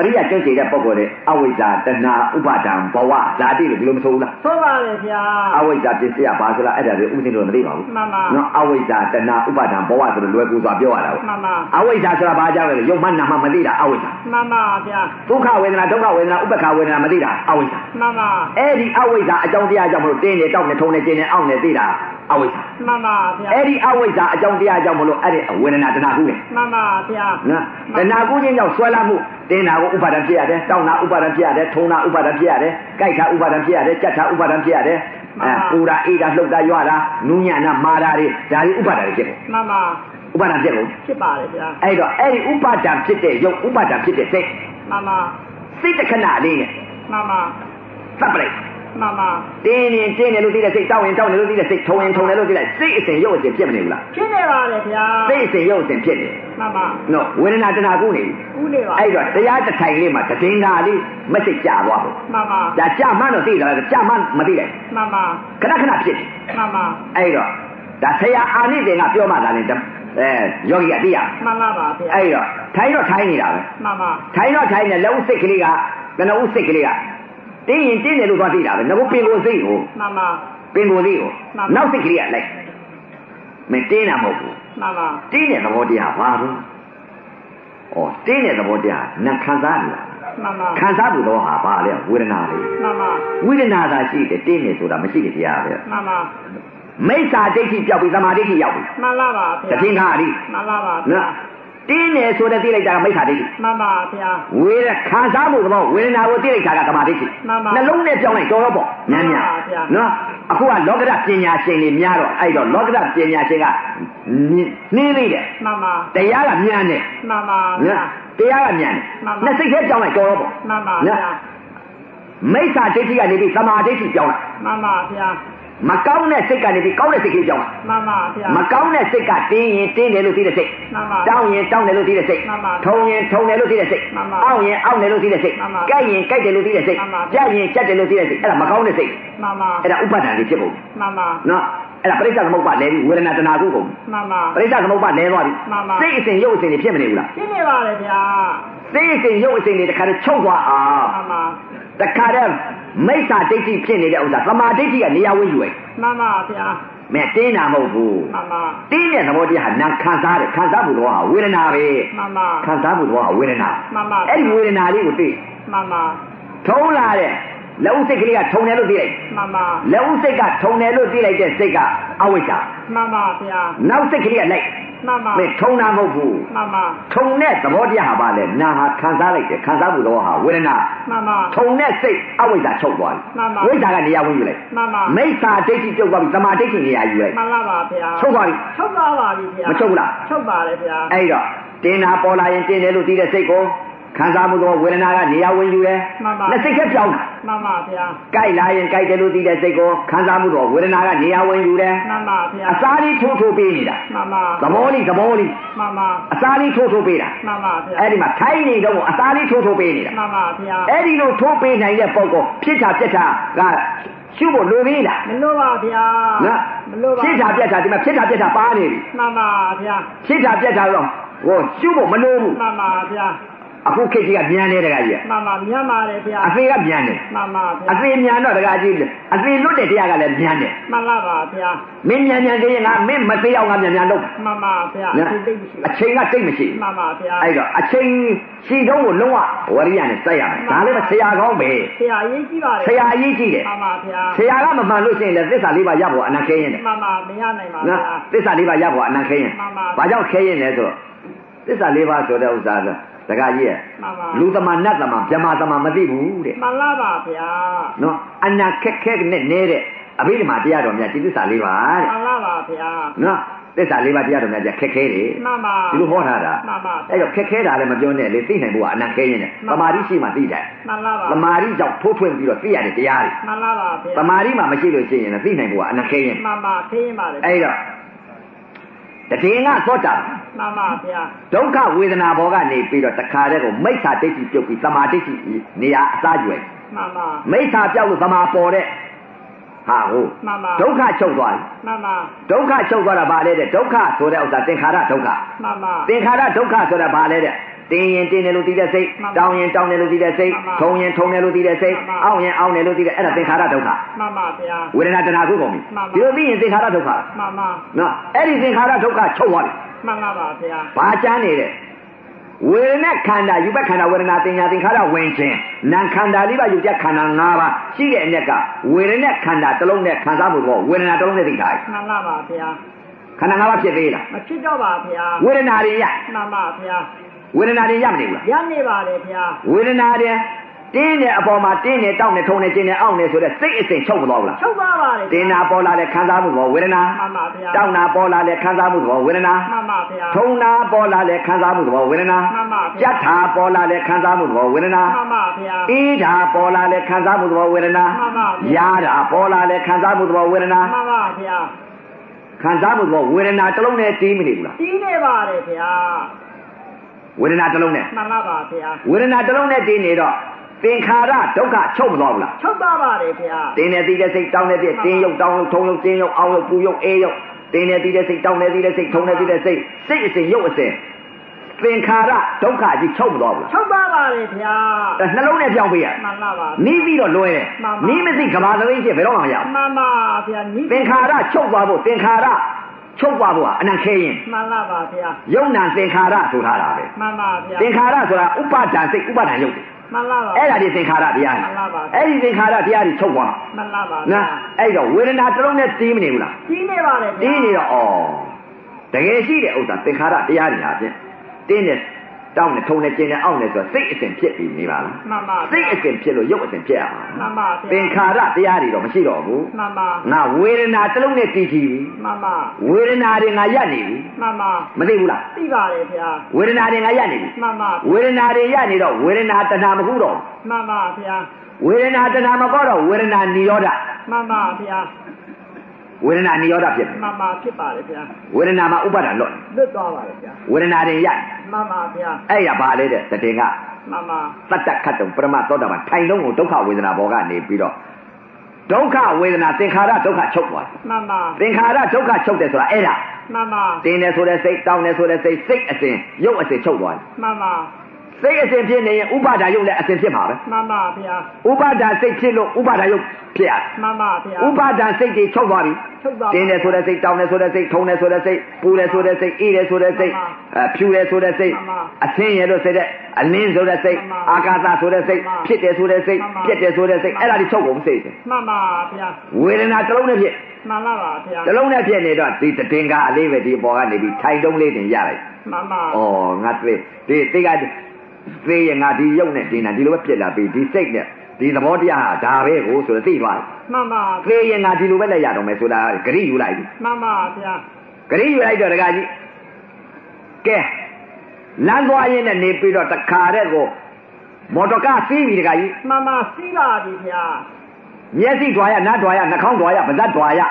Speaker 1: ပရိယကျုပ်ကြည်တဲ့ပုံပေါ်တဲ့အဝိဇ္ဇာတနာဥပါဒံဘဝဓာတိလို့ဘယ်လိုမဆိုဘူးလား
Speaker 2: သို့ပါလေဗျာ
Speaker 1: အဝိဇ္ဇာပစ္စယဘာဆိုလားအဲ့ဒါတွေဥစဉ်လို့မသိပါဘူး
Speaker 2: မှန်ပါ
Speaker 1: နော်အဝိဇ္ဇာတနာဥပါဒံဘဝဆိုလို့လွယ်ကူစွာပြောရတာပေါ့
Speaker 2: မှန်ပါ
Speaker 1: အဝိဇ္ဇာဆိုတာဘာကြောင့်လဲရုပ်မှနာမှမသိတာအဝိဇ္ဇာ
Speaker 2: မှန်ပါဗျာ
Speaker 1: ဒုက္ခဝေဒနာဒုက္ခဝေဒနာဥပ္ပခာဝေဒနာမသိတာအဝိဇ္ဇာ
Speaker 2: မှန်ပါ
Speaker 1: အဲ့ဒီအဝိဇ္ဇာအကြောင်းတရားကြောင့်မလို့တင်းနေတောက်နေထုံနေကျင်းနေအောင့်နေသိတာအဝိဇ္ဇာ
Speaker 2: မှန်ပါဗျာ
Speaker 1: အဲ့ဒီအဝိဇ္ဇာအကြောင်းတရားကြောင့်မလို့အဲ့ဒီဝေဒနာတဏှာကုပဲ
Speaker 2: မှန်ပါဗျာ
Speaker 1: နော်တဏှာကုချင်းကြောင့်ဆွဲလာမှုတင်းတာကိုဥပါဒံဖြစ်ရတယ်တောင်းတာဥပါဒံဖြစ်ရတယ်ထုံတာဥပါဒံဖြစ်ရတယ်ကြိုက်တာဥပါဒံဖြစ်ရတယ်ကြက်တာဥပါဒံဖြစ်ရတယ်အဲပူတာအေးတာလှုပ်တာရွာတာနူးညံ့တာမာတာတွေဒါတွေဥပါဒံတွေဖြစ်ကုန်
Speaker 2: မှန်ပါ
Speaker 1: ဥပါဒံဖြစ်ကုန်
Speaker 2: ဖြစ်ပါလေဗျာ
Speaker 1: အဲ့တော့အဲ့ဒီဥပါဒံဖြစ်တဲ့ရုပ်ဥပါဒံဖြစ်တဲ့စိတ်
Speaker 2: မှန်ပါ
Speaker 1: စိတ်တစ်ခဏလေးနဲ့
Speaker 2: မှန်ပါ
Speaker 1: သတ်ပလိုက်
Speaker 2: မ မှန်ပါ
Speaker 1: တင်းရင်တင်းတယ်လို့သိတဲ့စိတ်တောက်ရင်တောက်တယ်လို့သိတဲ့စိတ်ထုံရင်ထုံတယ်လို့သိတဲ့စိတ်အစဉ်ရုပ်အစဉ်ဖြစ်မနေဘူးလား
Speaker 2: ဖြစ်နေပါလေဗျာ
Speaker 1: စိတ်အစဉ်ရုပ်အစဉ်ဖြစ်နေ
Speaker 2: မှန်ပါ
Speaker 1: နော်ဝေဒနာတဏှာကုနေပြီ
Speaker 2: ကူးနေပါ
Speaker 1: အဲ့တော့တရားတစ်ထိုင်လေးမှာတည်ငါလေးမစိတ်ကြသွားဘူး
Speaker 2: မှန်ပါ
Speaker 1: ဒါကြမှန်းတော့သိတယ်ကြမှန်းမသိလိုက်
Speaker 2: မှန်ပါ
Speaker 1: ခဏခဏဖြစ်တယ်
Speaker 2: မှန်ပါ
Speaker 1: အဲ့တော့ဒါဆရာအာနိသင်ကပြောမှသာလေဓမ္မအဲယောဂီကသိရမယ်
Speaker 2: မှန်လားပါဗျာ
Speaker 1: အဲ့တော့ထိုင်တော့ထိုင်နေတာပဲ
Speaker 2: မှန်ပါ
Speaker 1: ထိုင်တော့ထိုင်နေလက်ဦးစိတ်ကလေးကငနဦးစိတ်ကလေးကတင်းရင်တင်းတယ်လို့သွားသိတာပဲငါကပင်ကိုယ်စိတ်ကို
Speaker 2: မှန်ပါ
Speaker 1: ပင်ကိုယ်စိတ်ကို
Speaker 2: မှန်ပါ
Speaker 1: နောက်စိတ်ကလေးကလိုက်မင်းတင်းတာမဟုတ်ဘူး
Speaker 2: မှန်ပါ
Speaker 1: တင်းတဲ့သဘောတရားပါဘူးဩတင်းတဲ့သဘောတရားနာခံစားရလား
Speaker 2: မှန်ပါ
Speaker 1: ခံစားမှုတော့ဟာပါလေဝေဒနာလေ
Speaker 2: မှန်ပါ
Speaker 1: ဝေဒနာသာရှိတယ်တင်းတယ်ဆိုတာမရှိတဲ့တရားပဲ
Speaker 2: မှန်ပါ
Speaker 1: မိစ္ဆာဒိဋ္ဌိပြောက်ပြီးသမာဓိဋ္ဌိရောက်ပြီ
Speaker 2: မှန်လားပါ
Speaker 1: တ
Speaker 2: ဗျာ
Speaker 1: ခြင်းကားလေး
Speaker 2: မှန်လားပါဗျာ
Speaker 1: နော်တင်းတယ်ဆိုတဲ့သိလိုက်တာကမိစ္ဆာဒိဋ္ဌိ
Speaker 2: မှန်ပါဗျာ
Speaker 1: ဝေဒခံစားမှုသဘောဝေဒနာကိုသိလိုက်တာကသမာဓိဋ္ဌိ
Speaker 2: မှန်ပါ
Speaker 1: နှလုံးနဲ့ပြောင်းလိုက်တော်တော့ပေါ့
Speaker 2: မှ
Speaker 1: န
Speaker 2: န်
Speaker 1: န်း
Speaker 2: ပါ
Speaker 1: များ
Speaker 2: ဗျာ
Speaker 1: နော်အခုကလောကဓာတ်ပညာရှင်တွေများတော့အဲ့တော့လောကဓာတ်ပညာရှင်ကနင်းနေတယ်
Speaker 2: မှန်ပါ
Speaker 1: တရားကမြန်တယ်
Speaker 2: မှန်ပါဗျာ
Speaker 1: နော်တရားကမြန်
Speaker 2: မှန်ပါ
Speaker 1: တယ်နှစ်စိတ်ထဲပြောင်းလိုက်တော်တော့ပေါ့
Speaker 2: မှန်ပါဗျာ
Speaker 1: မိစ္ဆာဒိဋ္ဌိကနေပြီးသမာဓိဋ္ဌိပြောင်းလိုက်
Speaker 2: မှန်ပါဗျာ
Speaker 1: မကောင်းတဲ့စိတ်ကနေပြီးကောင်းတဲ့စိတ်ကလေးပြောင်းလိုက်
Speaker 2: မှန်ပါဗျာ
Speaker 1: မကောင်းတဲ့စိတ်ကတင်းရင်တင်းတယ်လို့သိတဲ့စိတ်
Speaker 2: မှန်ပါ
Speaker 1: တောင်းရင်တောင်းတယ်လို့သိတဲ့စိတ်
Speaker 2: မှန်ပါ
Speaker 1: ထုံရင်ထုံတယ်လို့သိတဲ့စိတ်
Speaker 2: မှန်ပါ
Speaker 1: အောင့်ရင်အောင့်တယ်လို့သိတဲ့စိတ်
Speaker 2: မှန်ပါ
Speaker 1: ကြိုက်ရင်ကြိုက်တယ်လို့သိတဲ့စိတ်
Speaker 2: မှန်ပါ
Speaker 1: ကြက်ရင်ကြက်တယ်လို့သိတဲ့စိတ်အဲ့ဒါမကောင်းတဲ့စိတ်
Speaker 2: မှန်ပါ
Speaker 1: အဲ့ဒါဥပါဒဏ်တွေဖြစ်ကုန်
Speaker 2: မှန်ပါ
Speaker 1: နော်အဲ့ဒါပရိစ္ဆေသမုပ္ပါလဲပြီးဝေဒနာတဏှာကုကုန်
Speaker 2: မှန်ပါ
Speaker 1: ပရိစ္ဆေသမုပ္ပါလဲသွားပြီ
Speaker 2: မှန်ပါ
Speaker 1: စိတ်အစဉ်ရုပ်အစဉ်တွေဖြစ်မနေဘူးလား
Speaker 2: ဖြစ်နေပါလေဗျာ
Speaker 1: စိတ်အစဉ်ရုပ်အစဉ်တွေတခါတည်းချုပ်သွားအောင်
Speaker 2: မှန်ပါ
Speaker 1: တခါတည်းမိစ္ဆာဒိဋ္ဌိဖြစ်နေတဲ့ဥစ္စာသမာဓိဋ္ဌိကနေရာဝေးယူလိုက်
Speaker 2: မှန်ပါဗျာ
Speaker 1: မင်းတင်းတာမဟုတ်ဘူး
Speaker 2: မှန်ပါ
Speaker 1: တင်းတဲ့သဘောတရားဟာနာခံစားတယ်ခံစားမှုတော့ဟာဝေဒနာပဲ
Speaker 2: မှန်ပါ
Speaker 1: ခံစားမှုတော့ဟာဝေဒနာ
Speaker 2: မှန်ပါ
Speaker 1: အဲ့ဒီဝေဒနာလေးကိုသိ
Speaker 2: မှန်ပါ
Speaker 1: ထုံလာတဲ့လက်ဦးစိတ်ကလေးကထုံတယ်လို့သိလိုက်
Speaker 2: မှန်ပါ
Speaker 1: လက်ဦးစိတ်ကထုံတယ်လို့သိလိုက်တဲ့စိတ်ကအဝိဇ္ဇာ
Speaker 2: မှန်ပါဗျာ
Speaker 1: နောက်စိတ်ကလေးကလိုက်
Speaker 2: မှန်ပါ
Speaker 1: မင်းထုံတာမဟုတ်ဘူး
Speaker 2: မှန်ပါ
Speaker 1: ထုံတဲ့သဘောတရားဟာပါလေနာဟာခံစားလိုက်တယ်ခံစားမှုတော့ဟာဝေဒနာ
Speaker 2: မှန်ပါ
Speaker 1: ထုံတဲ့စိတ်အဝိဇ္ဇာချုပ်သွား
Speaker 2: မှန်ပါ
Speaker 1: ပြီဝိဇ္ဇာကနေရာဝင်ယူလိုက်
Speaker 2: မှန်ပါ
Speaker 1: မိစ္ဆာဒိဋ္ဌိပြုတ်သွားပြီသမာဓိဋ္ဌိနေရာယူလိုက်
Speaker 2: မှန်လားပါဗျာ
Speaker 1: ချုပ်သွားပြီ
Speaker 2: ချုပ်ပါပါပြီဗျာ
Speaker 1: မချုပ်ဘူးလား
Speaker 2: ချုပ်ပါလေဗျာ
Speaker 1: အဲ့တော့တင်းတာပေါ်လာရင်တင်းတယ်လို့သိတဲ့စိတ်ကိုခံစားမှုတော့ဝေဒနာကနေရာဝင်ယူတယ်
Speaker 2: မှန်ပါ
Speaker 1: လက်စိတ်ကပြောင်းတာ
Speaker 2: မှန်ပါဗျာ
Speaker 1: ကြိုက်လာရင်ကြိုက်တယ်လို့သိတဲ့စိတ်ကိုခံစားမှုတော့ဝေဒနာကနေရာဝင်ယူတယ်
Speaker 2: မှန်ပါဗျာ
Speaker 1: အစာလေးထိုးထိုးပေးနေတာ
Speaker 2: မှန်ပါ
Speaker 1: သဘောလေးသဘောလေး
Speaker 2: မှန်ပါ
Speaker 1: အစာလေးထိုးထိုးပေးတာ
Speaker 2: မှန်ပါဗျာ
Speaker 1: အဲ့ဒီမှာထိုင်းနေတော့အစာလေးထိုးထိုးပေးနေတာ
Speaker 2: မှန်ပါဗျာ
Speaker 1: အဲ့ဒီလိုထိုးပေးနိုင်တဲ့ပုံကိုဖြစ်တာပြက်တာကရှုဖို့လိုသေးလား
Speaker 2: မလို့ပါဗျာ
Speaker 1: နော်
Speaker 2: မလို့ပါ
Speaker 1: ဖြစ်တာပြက်တာဒီမှာဖြစ်တာပြက်တာပါနေပြီ
Speaker 2: မှန်ပါဗျာ
Speaker 1: ဖြစ်တာပြက်တာတော့ဟိုရှုဖို့မလိုဘူး
Speaker 2: မှန်ပါဗျာ
Speaker 1: အခုခေတ်ကြီးကမြန်နေတကကြီး
Speaker 2: မှန်ပါမြန်ပါလေဗျာ
Speaker 1: ကအသေးကမြန်နေ
Speaker 2: မှန်ပါ
Speaker 1: အ
Speaker 2: ဗျာ
Speaker 1: သေးမြန်တော့တကကြီးအသေးလွတ်တဲ့တရားကလည်းမြန်နေ
Speaker 2: မှန်လားပါဗျာ
Speaker 1: မင်းမြန်မြန်သေးရင်ငါမင်းမသေးအောင်ငါမြန်မြန်လုပ်
Speaker 2: မှန်ပါဗျာ
Speaker 1: နော်
Speaker 2: ဒီသိမ
Speaker 1: အချိ
Speaker 2: ရှိ
Speaker 1: န်ကတိတ်မရှိ
Speaker 2: မှန်ပါဗျာ
Speaker 1: အဲ့တော့အချိန်ရှိတော့ကိုလုံးဝဝရိယနဲ့စိုက်ရမယ်ဒါလည်းပဲဆရာကောင်းပဲ
Speaker 2: ဆရာအရေးကြီးပါလေ
Speaker 1: ဆရာအရေးကြီးတယ်
Speaker 2: မှန်ပါဗျာ
Speaker 1: ဆရာကမမှန်လို့ရှိရင်လည်းသစ္စာလေးပါရဖို့အနာခဲရင်တယ်
Speaker 2: မှန်ပါမရနိုင်ပါ
Speaker 1: နော်
Speaker 2: ဗျာ
Speaker 1: သစ္စာလေးပါရဖို့အနာခဲရင်
Speaker 2: မှန်ပါ
Speaker 1: ဘာကြောင့်ခဲရင်လဲဆိုတော့သစ္စာလေးပါဆိုတဲ့ဥစ္စာကဒကာကြီးရဲ့
Speaker 2: မှန်ပါ
Speaker 1: လူသမာနတ်သမာဗြဟ္မာသမာမသိဘူးတဲ့
Speaker 2: မှန်လားပါဗျာ
Speaker 1: နော်အနာခက်ခက်နဲ့နဲတဲ့အဘိဓမ္မာတရားတော်များဒီသစ္စာလေးပါ
Speaker 2: မှ
Speaker 1: တဲ့
Speaker 2: န်လားပါဗျာ
Speaker 1: နော်သစ္စာလေးပါတရားတော်များကြခက်ခဲတယ်
Speaker 2: မှန်ပါ
Speaker 1: ဒီလိုဟောထားတာ
Speaker 2: မှန်ပါ
Speaker 1: အဲ့တော့ခက်ခဲတာလည်းမပြောနဲ့လေသိနိုင်ဖို့ကအနက်ခဲရင်းတယ်သမာဓိရှိမှသိတယ်
Speaker 2: မှန်လားပါ
Speaker 1: သမာဓိကြောင့်ထိုးထွင်းပြီးတော့သိရတဲ့တရားတွေ
Speaker 2: မှန်လားပါဗျာ
Speaker 1: သမာဓိမှမရှိလို့ရှိရင်လည်းသိနိုင်ဖို့ကအနက်ခဲရင်း
Speaker 2: မှန်ပါသိရင်ပါလေ
Speaker 1: အဲ့တော့တတိယကသောတာ
Speaker 2: မှန်ပါဗျာ
Speaker 1: ဒုက္ခဝေဒနာဘောကနေပြီးတော့တခါတည်းကိုမိစ္ဆာဒိဋ္ဌိပြုတ်ပြီးသမာဓိဋ္ဌိနေရာအစားကျွယ်
Speaker 2: မှန်ပါ
Speaker 1: မိစ္ဆာပြောက်လို့သမာပေါ်တဲ့ဟာဟုတ်
Speaker 2: မှန်ပါ
Speaker 1: ဒုက္ခချုပ်သွားတယ်
Speaker 2: မှန်ပါ
Speaker 1: ဒုက္ခချုပ်သွားတာဗာလဲတဲ့ဒုက္ခဆိုတဲ့ဥစ္စာသင်္ခါရဒုက္ခ
Speaker 2: မှန်ပါ
Speaker 1: သင်္ခါရဒုက္ခဆိုတာဘာလဲတဲ့တင်းရင်တင်းတယ်လို့သိတဲ့စိတ်
Speaker 2: မှန်ပါ
Speaker 1: တောင်းရင်တောင်းတယ်လို့သိတဲ့စိတ်
Speaker 2: မှန်ပါ
Speaker 1: ထုံရင်ထုံတယ်လို့သိတဲ့စိတ်
Speaker 2: မှန်ပါ
Speaker 1: အောင့်ရင်အောင့်တယ်လို့သိတဲ့အဲ့ဒါသင်္ခါရဒုက္ခ
Speaker 2: မှန်ပါဗျာ
Speaker 1: ဝေဒနာတဏှာကုကုန်ပြီ
Speaker 2: မှန်ပါ
Speaker 1: ဒီလိုသိရင်သင်္ခါရဒုက္ခလား
Speaker 2: မှန်ပါ
Speaker 1: နော်အဲ့ဒီသင်္ခါရဒုက္ခချုပ်သွားပြီ
Speaker 2: မှန်လားပါဗျာ
Speaker 1: ဘာကြမ်းနေတဲ့ဝေဒနာခန္ဓာယူပခန္ဓာဝေဒနာသင်ညာသင်္ခါရဝင်ခြင်းနာခန္ဓာလေးပါယူချက်ခန္ဓာ၅ပါးရှိတဲ့အ낵ကဝေဒနာခန္ဓာတစ်လုံးနဲ့ခံစားမှုတော့ဝေဒနာတစ်လုံးနဲ့သိတာကြီး
Speaker 2: မှန်လားပါဗျာ
Speaker 1: ခန္ဓာ၅ပါးဖြစ်သေးလား
Speaker 2: မဖြစ်တော့ပါဗျာ
Speaker 1: ဝေဒနာတွေရ
Speaker 2: မှန်ပါဗျာ
Speaker 1: ဝေဒနာတွေရမနေဘူးလား
Speaker 2: ရနေပါလေဗျာ
Speaker 1: ဝေဒနာတဲ့ တင်းတဲ့အပေါ်မှာတင်းနေတောက်နေထုံနေကျင်နေအောင်နေဆိုတဲ့စိတ်အစဉ်ချုပ်မသွားဘူးလား
Speaker 2: ချုပ်သွားပါလေ
Speaker 1: တင်းနာပေါ်လာတဲ့ခံစားမှုသဘောဝေဒနာ
Speaker 2: မှန်ပါဗျာ
Speaker 1: တောက်နာပေါ်လာတဲ့ခံစားမှုသဘောဝေဒနာ
Speaker 2: မှန်ပါဗျာ
Speaker 1: ထုံနာပေါ်လာတဲ့ခံစားမှုသဘောဝေဒနာ
Speaker 2: မှန်ပါဗျာ
Speaker 1: ကြက်ထာပေါ်လာတဲ့ခံစားမှုသဘောဝေဒနာ
Speaker 2: မှန်ပါဗျာ
Speaker 1: အေးဓာပေါ်လာတဲ့ခံစားမှုသဘောဝေဒနာ
Speaker 2: မှန်ပါ
Speaker 1: ရာ
Speaker 2: ဗျာ
Speaker 1: ဓာပေါ်လာတဲ့ခံစားမှုသဘောဝေဒနာ
Speaker 2: မှန်ပါဗျာ
Speaker 1: ခံစားမှုသဘောဝေဒနာတစ်လုံးနဲ့တီးမနေဘူးလား
Speaker 2: တီးနေပါလေဗျာ
Speaker 1: ဝေဒနာတစ်လုံးနဲ့
Speaker 2: မှန်လားပါဗျာ
Speaker 1: ဝေဒနာတစ်လုံးနဲ့တီးနေတော့သင်္ခါရဒုက္ခချုပ်မသွားဘူးလား
Speaker 2: ချုပ်သွားပါလေဗျာ
Speaker 1: တင်းနေသီးတဲ့စိတ်တောင်းနေတဲ့တင်းရုပ်တောင်းရုပ်ထုံရုပ်တင်းရုပ်အောင်းရုပ်ပူရုပ်အေးရုပ်တင်းနေသီးတဲ့စိတ်တောင်းနေသီးတဲ့စိတ်ထုံနေသီးတဲ့စိတ်စိတ်အစဉ်ရုပ်အစဉ်သင်္ခါရဒုက္ခကြီးချုပ်မသွားဘူးလား
Speaker 2: ချုပ်ပါပါလေဗျာ
Speaker 1: အဲနှလုံးနဲ့ပြောင်းပေးရ
Speaker 2: မှန်လားပါ
Speaker 1: နီးပြီးတော့လွဲတယ်
Speaker 2: မှန်ပါ
Speaker 1: နီးမသိကဘာသတိဖြစ်ဘယ်တော့မှမရဘူး
Speaker 2: မှန်ပါဗျာနိ
Speaker 1: သင်္ခါရချုပ်သွားဖို့သင်္ခါရချုပ်သွားဖို့ဟာအနံခဲရင်
Speaker 2: မှန်လားပါဗျာ
Speaker 1: ယုံနာသင်္ခါရဆိုထားတာပဲ
Speaker 2: မှန်ပါဗျာ
Speaker 1: သင်္ခါရဆိုတာဥပါဒံစိတ်ဥပါဒံရုပ်တယ်
Speaker 2: မှန်လားပါ
Speaker 1: အဲ့ဒါဒီသင်္ခါရတရား
Speaker 2: မှန်ပါပါ
Speaker 1: တွေအဲ့ဒီသင်္ခါရတရားတွေချုပ်သွား
Speaker 2: မှန်လားပါ
Speaker 1: နော်အဲ့တော့ဝေဒနာတစ်လုံးနဲ့တီးမနေဘူးလား
Speaker 2: ကြီးနေပါလေဗျာ
Speaker 1: တင်းနေတော့ဩတကယ်ရှိတဲ့ဥစ္စာသင်္ခါရတရားတွေဟာဖြင့်တင်းနေတောင်းနေထုံနေကျင်းနေအောင်နေဆိုတော့စိတ်အစဉ်ဖြစ်ပြီးနေပါလား
Speaker 2: မှန်ပါ
Speaker 1: စိတ်အစဉ်ဖြစ်လို့ရုပ်အစဉ်ဖြစ်ရမှာ
Speaker 2: မှန်ပါ
Speaker 1: သင်္ခါရတရားတွေတော့မရှိတော့ဘူး
Speaker 2: မှန်ပါ
Speaker 1: ငါဝေဒနာတစ်လုံးနဲ့တည်ကြည့်ပြီ
Speaker 2: မှန်ပါ
Speaker 1: ဝေဒနာတွေငါရပ်နေပြီ
Speaker 2: မှန်ပါ
Speaker 1: မသိဘူးလား
Speaker 2: သိပါလေဗျာ
Speaker 1: ဝေဒနာတွေငါရပ်နေပြီ
Speaker 2: မှန်ပါ
Speaker 1: ဝေဒနာတွေရပ်နေတော့ဝေဒနာတဏှာမဟုတ်တော့
Speaker 2: မှန်ပါဗျာ
Speaker 1: ဘူးဝေဒနာတဏှာမကောတော့ဝေဒနာနိရောဓ
Speaker 2: မှန်ပါဗျာ
Speaker 1: ဝေဒနာနိရောဓဖြစ်မယ်
Speaker 2: မှန်ပါဖြစ်ပါလေဗျာ
Speaker 1: ဝေဒနာမှာဥပါဒံလွတ်နေ
Speaker 2: လွတ်သွားပါလေဗျာ
Speaker 1: ဝေဒနာတွေရပ်နေ
Speaker 2: မှန်ပါဗျာ
Speaker 1: အဲ့ရပါလေတဲ့သတင်က
Speaker 2: မှန်ပါ
Speaker 1: တတ္တခတ်တုံပရမသောတာပန်ထိုင်လုံးကိုဒုက္ခဝေဒနာဘောကနေပြီးတော့ဒုက္ခဝေဒနာသင်္ခါရဒုက္ခချုပ်သွားတယ်
Speaker 2: မှန်ပါ
Speaker 1: သင်္ခါရဒုက္ခချုပ်တယ်ဆိုတာအဲ့ဒါ
Speaker 2: မှန်ပါ
Speaker 1: တင်းတယ်ဆိုတဲ့စိတ်တောင်းတယ်ဆိုတဲ့စိတ်စိတ်အစဉ်ရုပ်အစဉ်ချုပ်သွားတယ်
Speaker 2: မှန်ပါ
Speaker 1: စိတ်အစဉ်ဖြစ်နေရင်ဥပါဒါရုပ်လည်းအစဉ်ဖြစ်မှာပဲ
Speaker 2: မှန်ပါဗျာ
Speaker 1: ဥပါဒါစိတ်ဖြစ်လို့ဥပါဒါရုပ်ဖြစ်ရ
Speaker 2: မှန်ပါဗျာ
Speaker 1: ဥပါဒါစိတ်တွေချုပ်သွားပြီ
Speaker 2: ချုပ်သွားပါ
Speaker 1: တင်းတယ်ဆိုတဲ့စိတ်တောင်းတယ်ဆိုတဲ့စိတ်ထုံတယ်ဆိုတဲ့စိတ်ပူတယ်ဆိုတဲ့စိတ်အေးတယ်ဆိုတဲ့စိတ်
Speaker 2: မှန်
Speaker 1: အဖြူတယ်ဆိုတဲ့စိတ်
Speaker 2: မှန်ပါ
Speaker 1: အသင်းရလို့ဆိုတဲ့အလင်းဆိုတဲ့စိတ်
Speaker 2: မှန်ပါ
Speaker 1: အာကာသဆိုတဲ့စိတ်
Speaker 2: မှန်ပါ
Speaker 1: ဖြစ်တယ်ဆိုတဲ့စိတ်
Speaker 2: မှန်ပါ
Speaker 1: ပြက်တယ်ဆိုတဲ့စိတ်အဲ့ဒါတွေချုပ်ကုန်စိတ်တယ်
Speaker 2: မှန်ပါဗျာ
Speaker 1: ဝေဒနာတစ်လုံးနဲ့ဖြစ်
Speaker 2: မှန်လားပါဗျာ
Speaker 1: တစ်လုံးနဲ့ဖြစ်နေတော့ဒီတည်ငါအလေးပဲဒီအပေါ်ကနေပြီးထိုင်တုံးလေးတင်ရလိုက်
Speaker 2: မှန်ပါ
Speaker 1: ။အော်ငါသိဒီသိကသိရင်ငါဒီရုပ်နဲ့ဒီနာဒီလိုပဲဖြစ်လာပြီဒီစိတ်နဲ့ဒီသဘောတရားဟာဒါပဲကိုဆိုတော့သိသွားတယ်
Speaker 2: မှန်ပါ
Speaker 1: ။သိရင်ငါဒီလိုပဲလက်ရတော့မယ်ဆိုတာဂရိယူလိုက်ပြီ
Speaker 2: မှန်ပါဗျာ
Speaker 1: ။ဂရိယူလိုက်တော့တကကြီးကဲလမ်းသွားရင်းနဲ့နေပြီးတော့တခါတဲ့ကိုမော်တော်ကားစီးပြီတကကြီး
Speaker 2: မှန်ပါစီးပါပြီဗျာ
Speaker 1: မျက်စိဓွာရနားဓွာရနှာခေါင်းဓွာရပါးစပ်ဓွာရ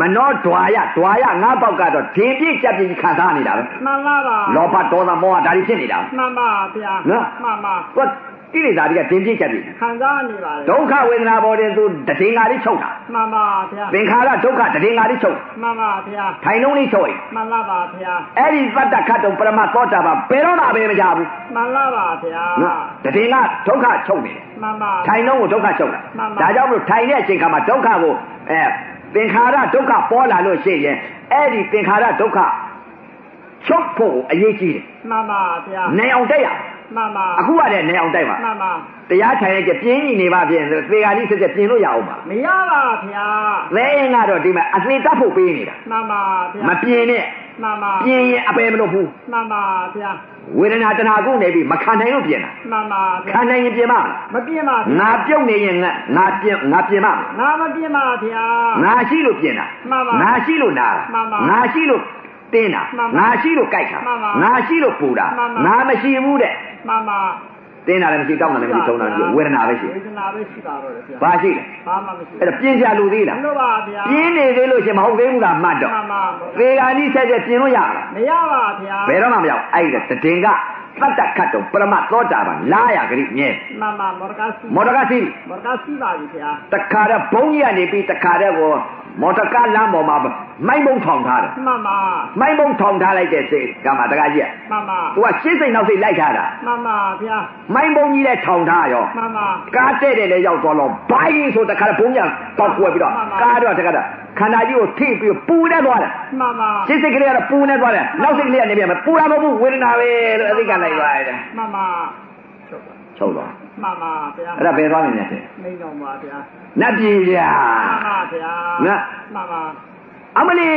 Speaker 1: မနောဓွာရဓွာရငါးပေါက်ကတော့ဒီပြည့်ကြက်ပြည့်ခံစားနေတာပဲ
Speaker 2: မှန်လားပါ
Speaker 1: လောဘဒေါသမောဟဒါတွေဖြစ်နေတာ
Speaker 2: မှန်ပါဗျာ
Speaker 1: နော်
Speaker 2: မှန်ပါ
Speaker 1: သူကိလေသာတွေကတင်ပြစ်ချက်ပြီ
Speaker 2: ခံစားနေပါလေ
Speaker 1: ဒုက္ခဝေဒနာပေါ်တဲ့သူတည်ငါလေးချုပ်တာ
Speaker 2: မှန်ပါဗျာ
Speaker 1: သင်္ခါရဒုက္ခတည်ငါလေးချုပ်
Speaker 2: မှန်ပါဗျာ
Speaker 1: ထိုင်လုံးလေးချုပ်ရင်
Speaker 2: မှန်လားပါဗျာ
Speaker 1: အဲ့ဒီသတ္တခတ်တုံပရမသောတာပန်ဘယ်တော့မှပဲမကြဘူး
Speaker 2: မှန်လားပါဗျာ
Speaker 1: နော်တည်ငါဒုက္ခချုပ်နေတယ်
Speaker 2: မှန်ပါ
Speaker 1: ထိုင်လုံးကိုဒုက္ခချုပ်တာ
Speaker 2: မှန်ပါ
Speaker 1: ဒါကြောင့်မလို့ထိုင်တဲ့အချိန်ခါမှာဒုက္ခကိုအဲသင်္ခါရဒုက္ခပေါ်လာလို့ရှိရင်အဲ့ဒီသင်္ခါရဒုက္ခချုပ်ဖို့အရေးကြီးတယ်
Speaker 2: မှန်ပါဗျာ
Speaker 1: နိုင်အောင်တိုက်ရ
Speaker 2: မှန်ပါ
Speaker 1: အောင်အခုကလည်းနိုင်အောင်တိုက်ပါ
Speaker 2: မှန်ပါ
Speaker 1: တရားထိုင်ရကျပြင်းကြီးနေပါဖြင့်သေဃာတိဆက်ဆက်ပြင်လို့ရအောင်ပါ
Speaker 2: မရပါဗျာ
Speaker 1: သဲရင်ကတော့ဒီမှာအသေးတတ်ဖို့ပေးနေတာ
Speaker 2: မှန်ပါဗျာ
Speaker 1: မပြင်းနဲ့
Speaker 2: မှန်ပါ
Speaker 1: ပြင်းရင်အပယ်မလုပ်ဘူး
Speaker 2: မှန်ပါဗျာ
Speaker 1: ဝေဒနာတနာကုနေပြီမခံနိုင်လို့ပြင်တာ
Speaker 2: မှန်ပါဗျာ
Speaker 1: ခံနိုင်ရင်ပြင်မလား
Speaker 2: မပြင်းပါဗျာ
Speaker 1: ငါပြုတ်နေရင်ငါငါပြင်ငါပြင်မလား
Speaker 2: ငါမပြင်းပါဗျာ
Speaker 1: ငါရှိလို့ပြင်တာ
Speaker 2: မှန်ပါ
Speaker 1: ငါရှိလို့နာ
Speaker 2: မှန်ပါ
Speaker 1: ငါရှိလို့တင်းတာ
Speaker 2: မှန်ပါ
Speaker 1: ငါရှိလို့ကြိုက်တာ
Speaker 2: မှန်ပါ
Speaker 1: ငါရှိလို့ပူတာ
Speaker 2: မှန်ပါ
Speaker 1: ငါမရှိဘူးတဲ့
Speaker 2: မှန်ပါ
Speaker 1: တင်းတာလည်းမရှိတောင်းတာလည်းမရှိထုံတာလည်းမရှိဝေဒနာပဲရှိ
Speaker 2: ဝေဒနာပဲရှိပါတော့တယ်ဗျာ
Speaker 1: ဘာရှိလဲ
Speaker 2: ဘာမှမရှိ
Speaker 1: အဲ့ဒါပြင်းစရာလိုသေးလား
Speaker 2: လို့ပါဗျာ
Speaker 1: ပြင်းနေသေးလို့ရှင်မဟုတ်သေးဘူးလားမှတ်တော့
Speaker 2: မှန်ပါ
Speaker 1: သေဂာနိဆက်ချက်ပြင်လို့ရလား
Speaker 2: မရပါဗျာ
Speaker 1: ဘယ်တော့မှမရဘူးအဲ့ဒါတည်ငါသတ္တခတ်တော့ပရမသောတာပန်လာရကြိမြဲ
Speaker 2: မှန်ပါမော်ဒကာစီ
Speaker 1: မော်တော်ကစီးပြီ
Speaker 2: မော်ဒကာစီပါပြီဗျာ
Speaker 1: တခါတော့ဘုံကြီးကနေပြီးတခါတော့ကိုမော်တော်ကလမ်းပေါ်မှာမိုင်းဘုံထောင်ထားတယ်
Speaker 2: မှန်ပါ
Speaker 1: မိုင်းဘုံထောင်ထားလိုက်တဲ့စိတ်ကမှတခါကြီးက
Speaker 2: မှန်ပါ
Speaker 1: သူကရှင်းစိတ်နောက်စိတ်လိုက်ထားတာ
Speaker 2: မှန်ပါဗျာ
Speaker 1: မိုင်းဘုံကြီးလည်းထောင်ထားရော
Speaker 2: မှန်ပါ
Speaker 1: ကားတဲ့တယ်လည်းရောက်သွားတော့ဘိုင်းဆိုတခါတော့ဘုံကြီးပေါက်ကွယ်ပြီးတော့
Speaker 2: မှန်ပါ
Speaker 1: ကားတော့တခါတော့ခန္ဓာကြီးကိုထိပ်ပြီးပူနေသွားတယ်
Speaker 2: မှန်ပါ
Speaker 1: စိတ်စိတ်ကလေးကတော့ပူနေသွားတယ်နောက်စိတ်ကလေးကနေပြန်မပူတာမဟုတ်ဘူးဝေဒနာပဲလို့အသိကလိုက်သွားတယ်
Speaker 2: မှန်ပါ
Speaker 1: ချုပ်သွား
Speaker 2: မှန်ပါဗျာ
Speaker 1: အဲ့ဒါဘယ်သွားနေလဲတဲ့
Speaker 2: မိန်တော်ပါဗျာ
Speaker 1: နတ်ပြည်ရာ
Speaker 2: မှန်ပါဗျာ
Speaker 1: နော်
Speaker 2: မှန်ပါ
Speaker 1: အမလီ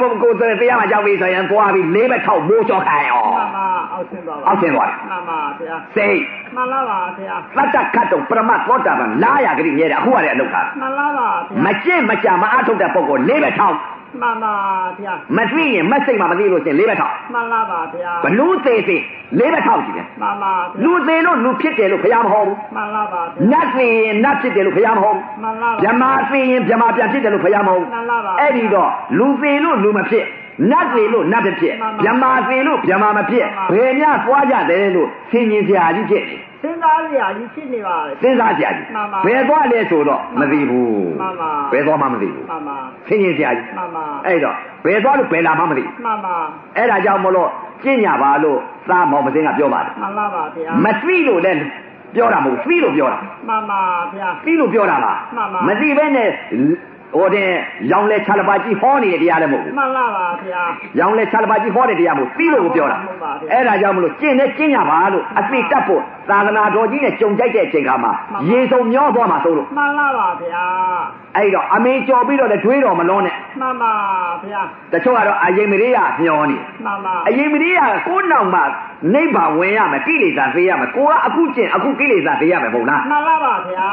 Speaker 1: ဘုဘကိုယ်စရတရားမှာကြောက်ပြီးဆိုရင်သွားပြီးလေးဘက်ထောက်မိုးချော်ခိုင်းရော
Speaker 2: မှန်ပါအောက် ဆင်းသွားပါ
Speaker 1: အောက်ဆင်းသွားတယ်
Speaker 2: မှန်ပါဗျာ
Speaker 1: စိတ်
Speaker 2: မှန်လားပါဗျာ
Speaker 1: သတ္တခတ်တုံပရမတ်သောတာပန်လာရကတိမြဲတယ်အခုကလည်းအလုပ်ပါ
Speaker 2: မှန်လားပါဗျာ
Speaker 1: မကြင့်မကြမအားထုတ်တဲ့ပုံကိုယ်လေးပဲထောင်း
Speaker 2: မှန်ပါဗျာ
Speaker 1: မသိရင်မစိတ်မှမသိလို့ရှရင်လေးပဲထောင်း
Speaker 2: မှန်လားပါဗျာ
Speaker 1: ဘလူသေးသေးလေးပဲထောင်းကြည့်တယ်
Speaker 2: မှန်ပါဗျာ
Speaker 1: လူသေးလို့လူဖြစ်တယ်လို့ဘုရားမဟောဘူး
Speaker 2: မှန်လားပါ
Speaker 1: န
Speaker 2: ဗျာ
Speaker 1: တ်သေးရင်နတ်ဖြစ်တယ်လို့ဘုရားမဟောဘူး
Speaker 2: မှန်လား
Speaker 1: ဗြ
Speaker 2: ပါ
Speaker 1: မာသေးရင်ဗြမာပြန်ဖြစ်တယ်လို့ဘုရားမဟောဘူး
Speaker 2: မှန်လားပါ
Speaker 1: အဲ့ဒီတော့လူသေလို့လူမဖြစ်နတ်သေလို့နတ်မဖြစ်
Speaker 2: မှန်
Speaker 1: မြ
Speaker 2: ပါ
Speaker 1: မာသေလို့မြမာမဖြစ်
Speaker 2: မှန်ပါ
Speaker 1: ဘယ်များပွားကြတယ်လို့ဆင်ញင်ဆရာကြီးဖြစ်တယ်
Speaker 2: စဉ်းစားစရာကြီးဖြစ်နေပါလေ
Speaker 1: စဉ်းစားဆရာကြီး
Speaker 2: မှန်ပါ
Speaker 1: ဘယ်သွားလဲဆိုတော့
Speaker 2: မှ
Speaker 1: မ
Speaker 2: န်ပါ
Speaker 1: သိဘူး
Speaker 2: မှန်ပါ
Speaker 1: ဘယ်သွားမှမသိဘူး
Speaker 2: မှန်ပါ
Speaker 1: ဆင်ញင်ဆရာကြီး
Speaker 2: မှန်ပါ
Speaker 1: အဲ့တော့ဘယ်သွားလို့ဘယ်လာမှမသိဘူး
Speaker 2: မှန်ပါ
Speaker 1: အဲ့ဒါကြောင့်မလို့ကျင့်ညာပါလို့သားမောင်မစင်းကပြောပါတယ်
Speaker 2: မှန်လားပါဗျာ
Speaker 1: မသိလို့လည်းပြောတာမဟုတ်ဘူးသိလို့ပြောတာ
Speaker 2: မှန်ပါဗျာ
Speaker 1: သိလို့ပြောတာလား
Speaker 2: မှန်ပါ
Speaker 1: မသိဘဲနဲ့ဟိုတင်ရောင်လဲခြားတစ်ပါးကြီးဟောနေတဲ့တရားလည်းမဟုတ်ဘူး
Speaker 2: မှန်လားပါဗျာ
Speaker 1: ရောင်လဲခြားတစ်ပါးကြီးဟောတဲ့တရားမို့ပြီးလို့ကိုပြောတာ
Speaker 2: ဟုတ်ပါဘူး
Speaker 1: အဲ့ဒါကြောင့်မလို့ကျင့်နဲ့ကျင့်ရပါလို့အသိတတ်ဖို့သာသနာတော်ကြီးနဲ့ကြုံကြိုက်တဲ့အချိန်ခါမှာ
Speaker 2: မှန်ပါ
Speaker 1: ရေစုံမျောသွားမှာဆိုလို့
Speaker 2: မှန်လားပါဗျာ
Speaker 1: အဲ့တော့အမေကြော်ပြီးတော့လည်းတွေးတော်မလွန်နဲ့
Speaker 2: မှန်ပါဗျာ
Speaker 1: တချို့ကတော့အယိမ်မရိယမျောနေ
Speaker 2: မှန်ပါ
Speaker 1: အယိမ်မရိယကကိုယ်နောက်မှာနိဗ္ဗာန်ဝင်ရမယ်ကိလေသာသေရမယ်ကိုကအခုကျင့်အခုကိလေသာသေရမယ်မဟုတ်လား
Speaker 2: မှန်လားပါဗျာ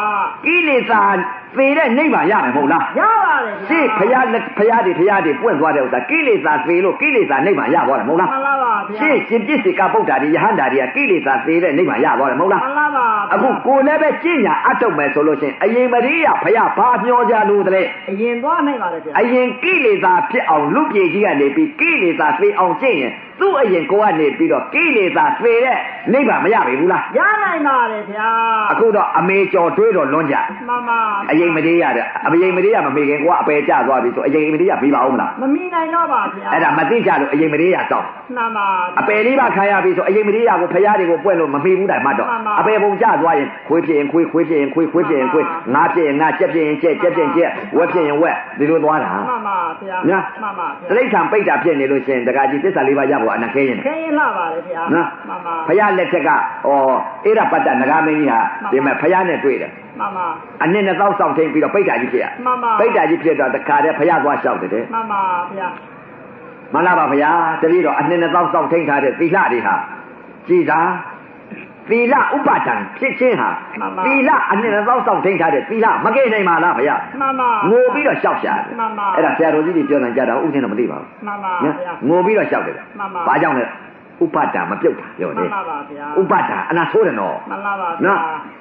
Speaker 1: ကိလေသာသေတဲ့နိဗ္ဗာန်ရမယ်မဟုတ်လား
Speaker 2: ရပါတယ်
Speaker 1: ရှ
Speaker 2: ဗျာ
Speaker 1: င်းဖရာလက်ဖရာတွေဖရာတွေပွင့်သွားတဲ့ဥစ္စာကိလေသာသေလို့ကိလေသာနိဗ္ဗာန်ရသွားတယ်မဟုတ်လား
Speaker 2: မှန်လားပါဗျာ
Speaker 1: ရှင်းရှင်ပြစ်စီကဗုဒ္ဓတွေယဟန္တာတွေကကိလေသာသေးတဲ့နိဗ္ဗာန်ရသွားတယ်မဟုတ်လား
Speaker 2: မှန်လားပါဗျာ
Speaker 1: အခုကိုယ်လည်းပဲကျင့်ညာအထုတ်မယ်ဆိုလို့ရှရင်အရင်မရိယဖရာဘာမျောကြလို့တလဲ
Speaker 2: အရင်သွားနိုင်ပါတယ်ဗျာ
Speaker 1: အရင်ကိလေသာဖြစ်အောင်လူပြေကြီးကနေပြီးကိလေသာသေအောင်ကျင့်ရင်သူ့အရင်ကိုယ်ကနေပြီးတော့ကိလေသာသေတဲ့နိဗ္ဗာန်မရပါဘူးလား
Speaker 2: ရနိုင်ပါတယ်ဗျာ
Speaker 1: အခုတော့အမေကျော်တွေးတော့လွန်ကြ
Speaker 2: မှန်ပါ
Speaker 1: အရင်မရိယတဲ့အရင်မရိယမမေခင်ကိုယ်ကအပယ်ကျသွားပြီဆိုအရင်မရိယပြီးပါအောင်မလား
Speaker 2: မမီနိုင်တော့ပါဗျာ
Speaker 1: အဲ့ဒါမသိကြလို့အရင်မရိယတောင်း
Speaker 2: မှန်ပါ
Speaker 1: အပယ်လေးပါခံရပြီဆိုအရင်မလေးရကိုဖရားတွေကိုပွက်လို့မမေ့ဘူးတိုင်မှတ်တော့အပယ်ပုံကြသွားရင်ခွေးဖြစ်ရင်ခွေးခွေးဖြစ်ရင်ခွေးခွေးဖြစ်ရင်ခွေးငါဖြစ်ရင်ငါကြက်ဖြစ်ရင်ကြက်ကြက်ဖြစ်ရင်ကြက်ဝက်ဖြစ်ရင်ဝက်ဒီလိုသွားတာ
Speaker 2: မှန်ပါဗျာ
Speaker 1: နော်
Speaker 2: မှန်ပါ
Speaker 1: တ
Speaker 2: ဗျာ
Speaker 1: ရိစ္ဆာန်ပိတ်တာဖြစ်နေလို့ရှိရင်တကကြီးသစ္စာလေးပါးရဖို့အနခဲရင်
Speaker 2: ခဲရင်လာပါတယ်ဗျာ
Speaker 1: နော်
Speaker 2: မှန်ပါ
Speaker 1: ဖရားလက်ထက်ကဩအေရပတ်တနဂမင်းကြီးဟာဒီမဲ့ဖရားနဲ့တွေ့တယ်
Speaker 2: မှန်ပါ
Speaker 1: အနှစ်နဲ့သောက်ဆောင်ထိန်ပြီးတော့ပိတ်တာကြီးဖြစ်ရ
Speaker 2: မှန်ပါ
Speaker 1: ပိတ်တာကြီးဖြစ်တော့တခါတည်းဖရားသွားလျှောက်တယ်တဲ့
Speaker 2: မှန်ပါဗျာ
Speaker 1: မလားပါဗျာတပည့်တော်အနှစ်နှစ်သောင်းစောင့်ထိန်ထားတဲ့သီလတွေဟာကြည်သာသီလဥပဒံဖြစ်ခြင်းဟာသီလအနှစ်နှစ်သောင်းစောင့်ထိန်ထားတဲ့သီလမကဲနိုင်ပါလားဗျာ
Speaker 2: မှန်ပါ
Speaker 1: ငိုပြီးတော့ရှောက်ရှာတယ်
Speaker 2: မှန်ပါ
Speaker 1: အဲ့ဒါဆရာတော်ကြီးတွေပြောတယ်ကြတော့ဥစဉ်တော့မသိပါဘူး
Speaker 2: မှန်ပါ
Speaker 1: နော်
Speaker 2: ဗျာ
Speaker 1: ငိုပြီးတော့ရှောက်တယ်ဗျ
Speaker 2: မှန်ပါ
Speaker 1: ဘာကြောင့်လဲဥပဒံမပြုတ်တာပြော
Speaker 2: မှ
Speaker 1: နေ
Speaker 2: န်ပါပါဗျာ
Speaker 1: ဥပဒံအနာဆိုးတယ်နော်
Speaker 2: မှန်လားပါဗျာ
Speaker 1: နော်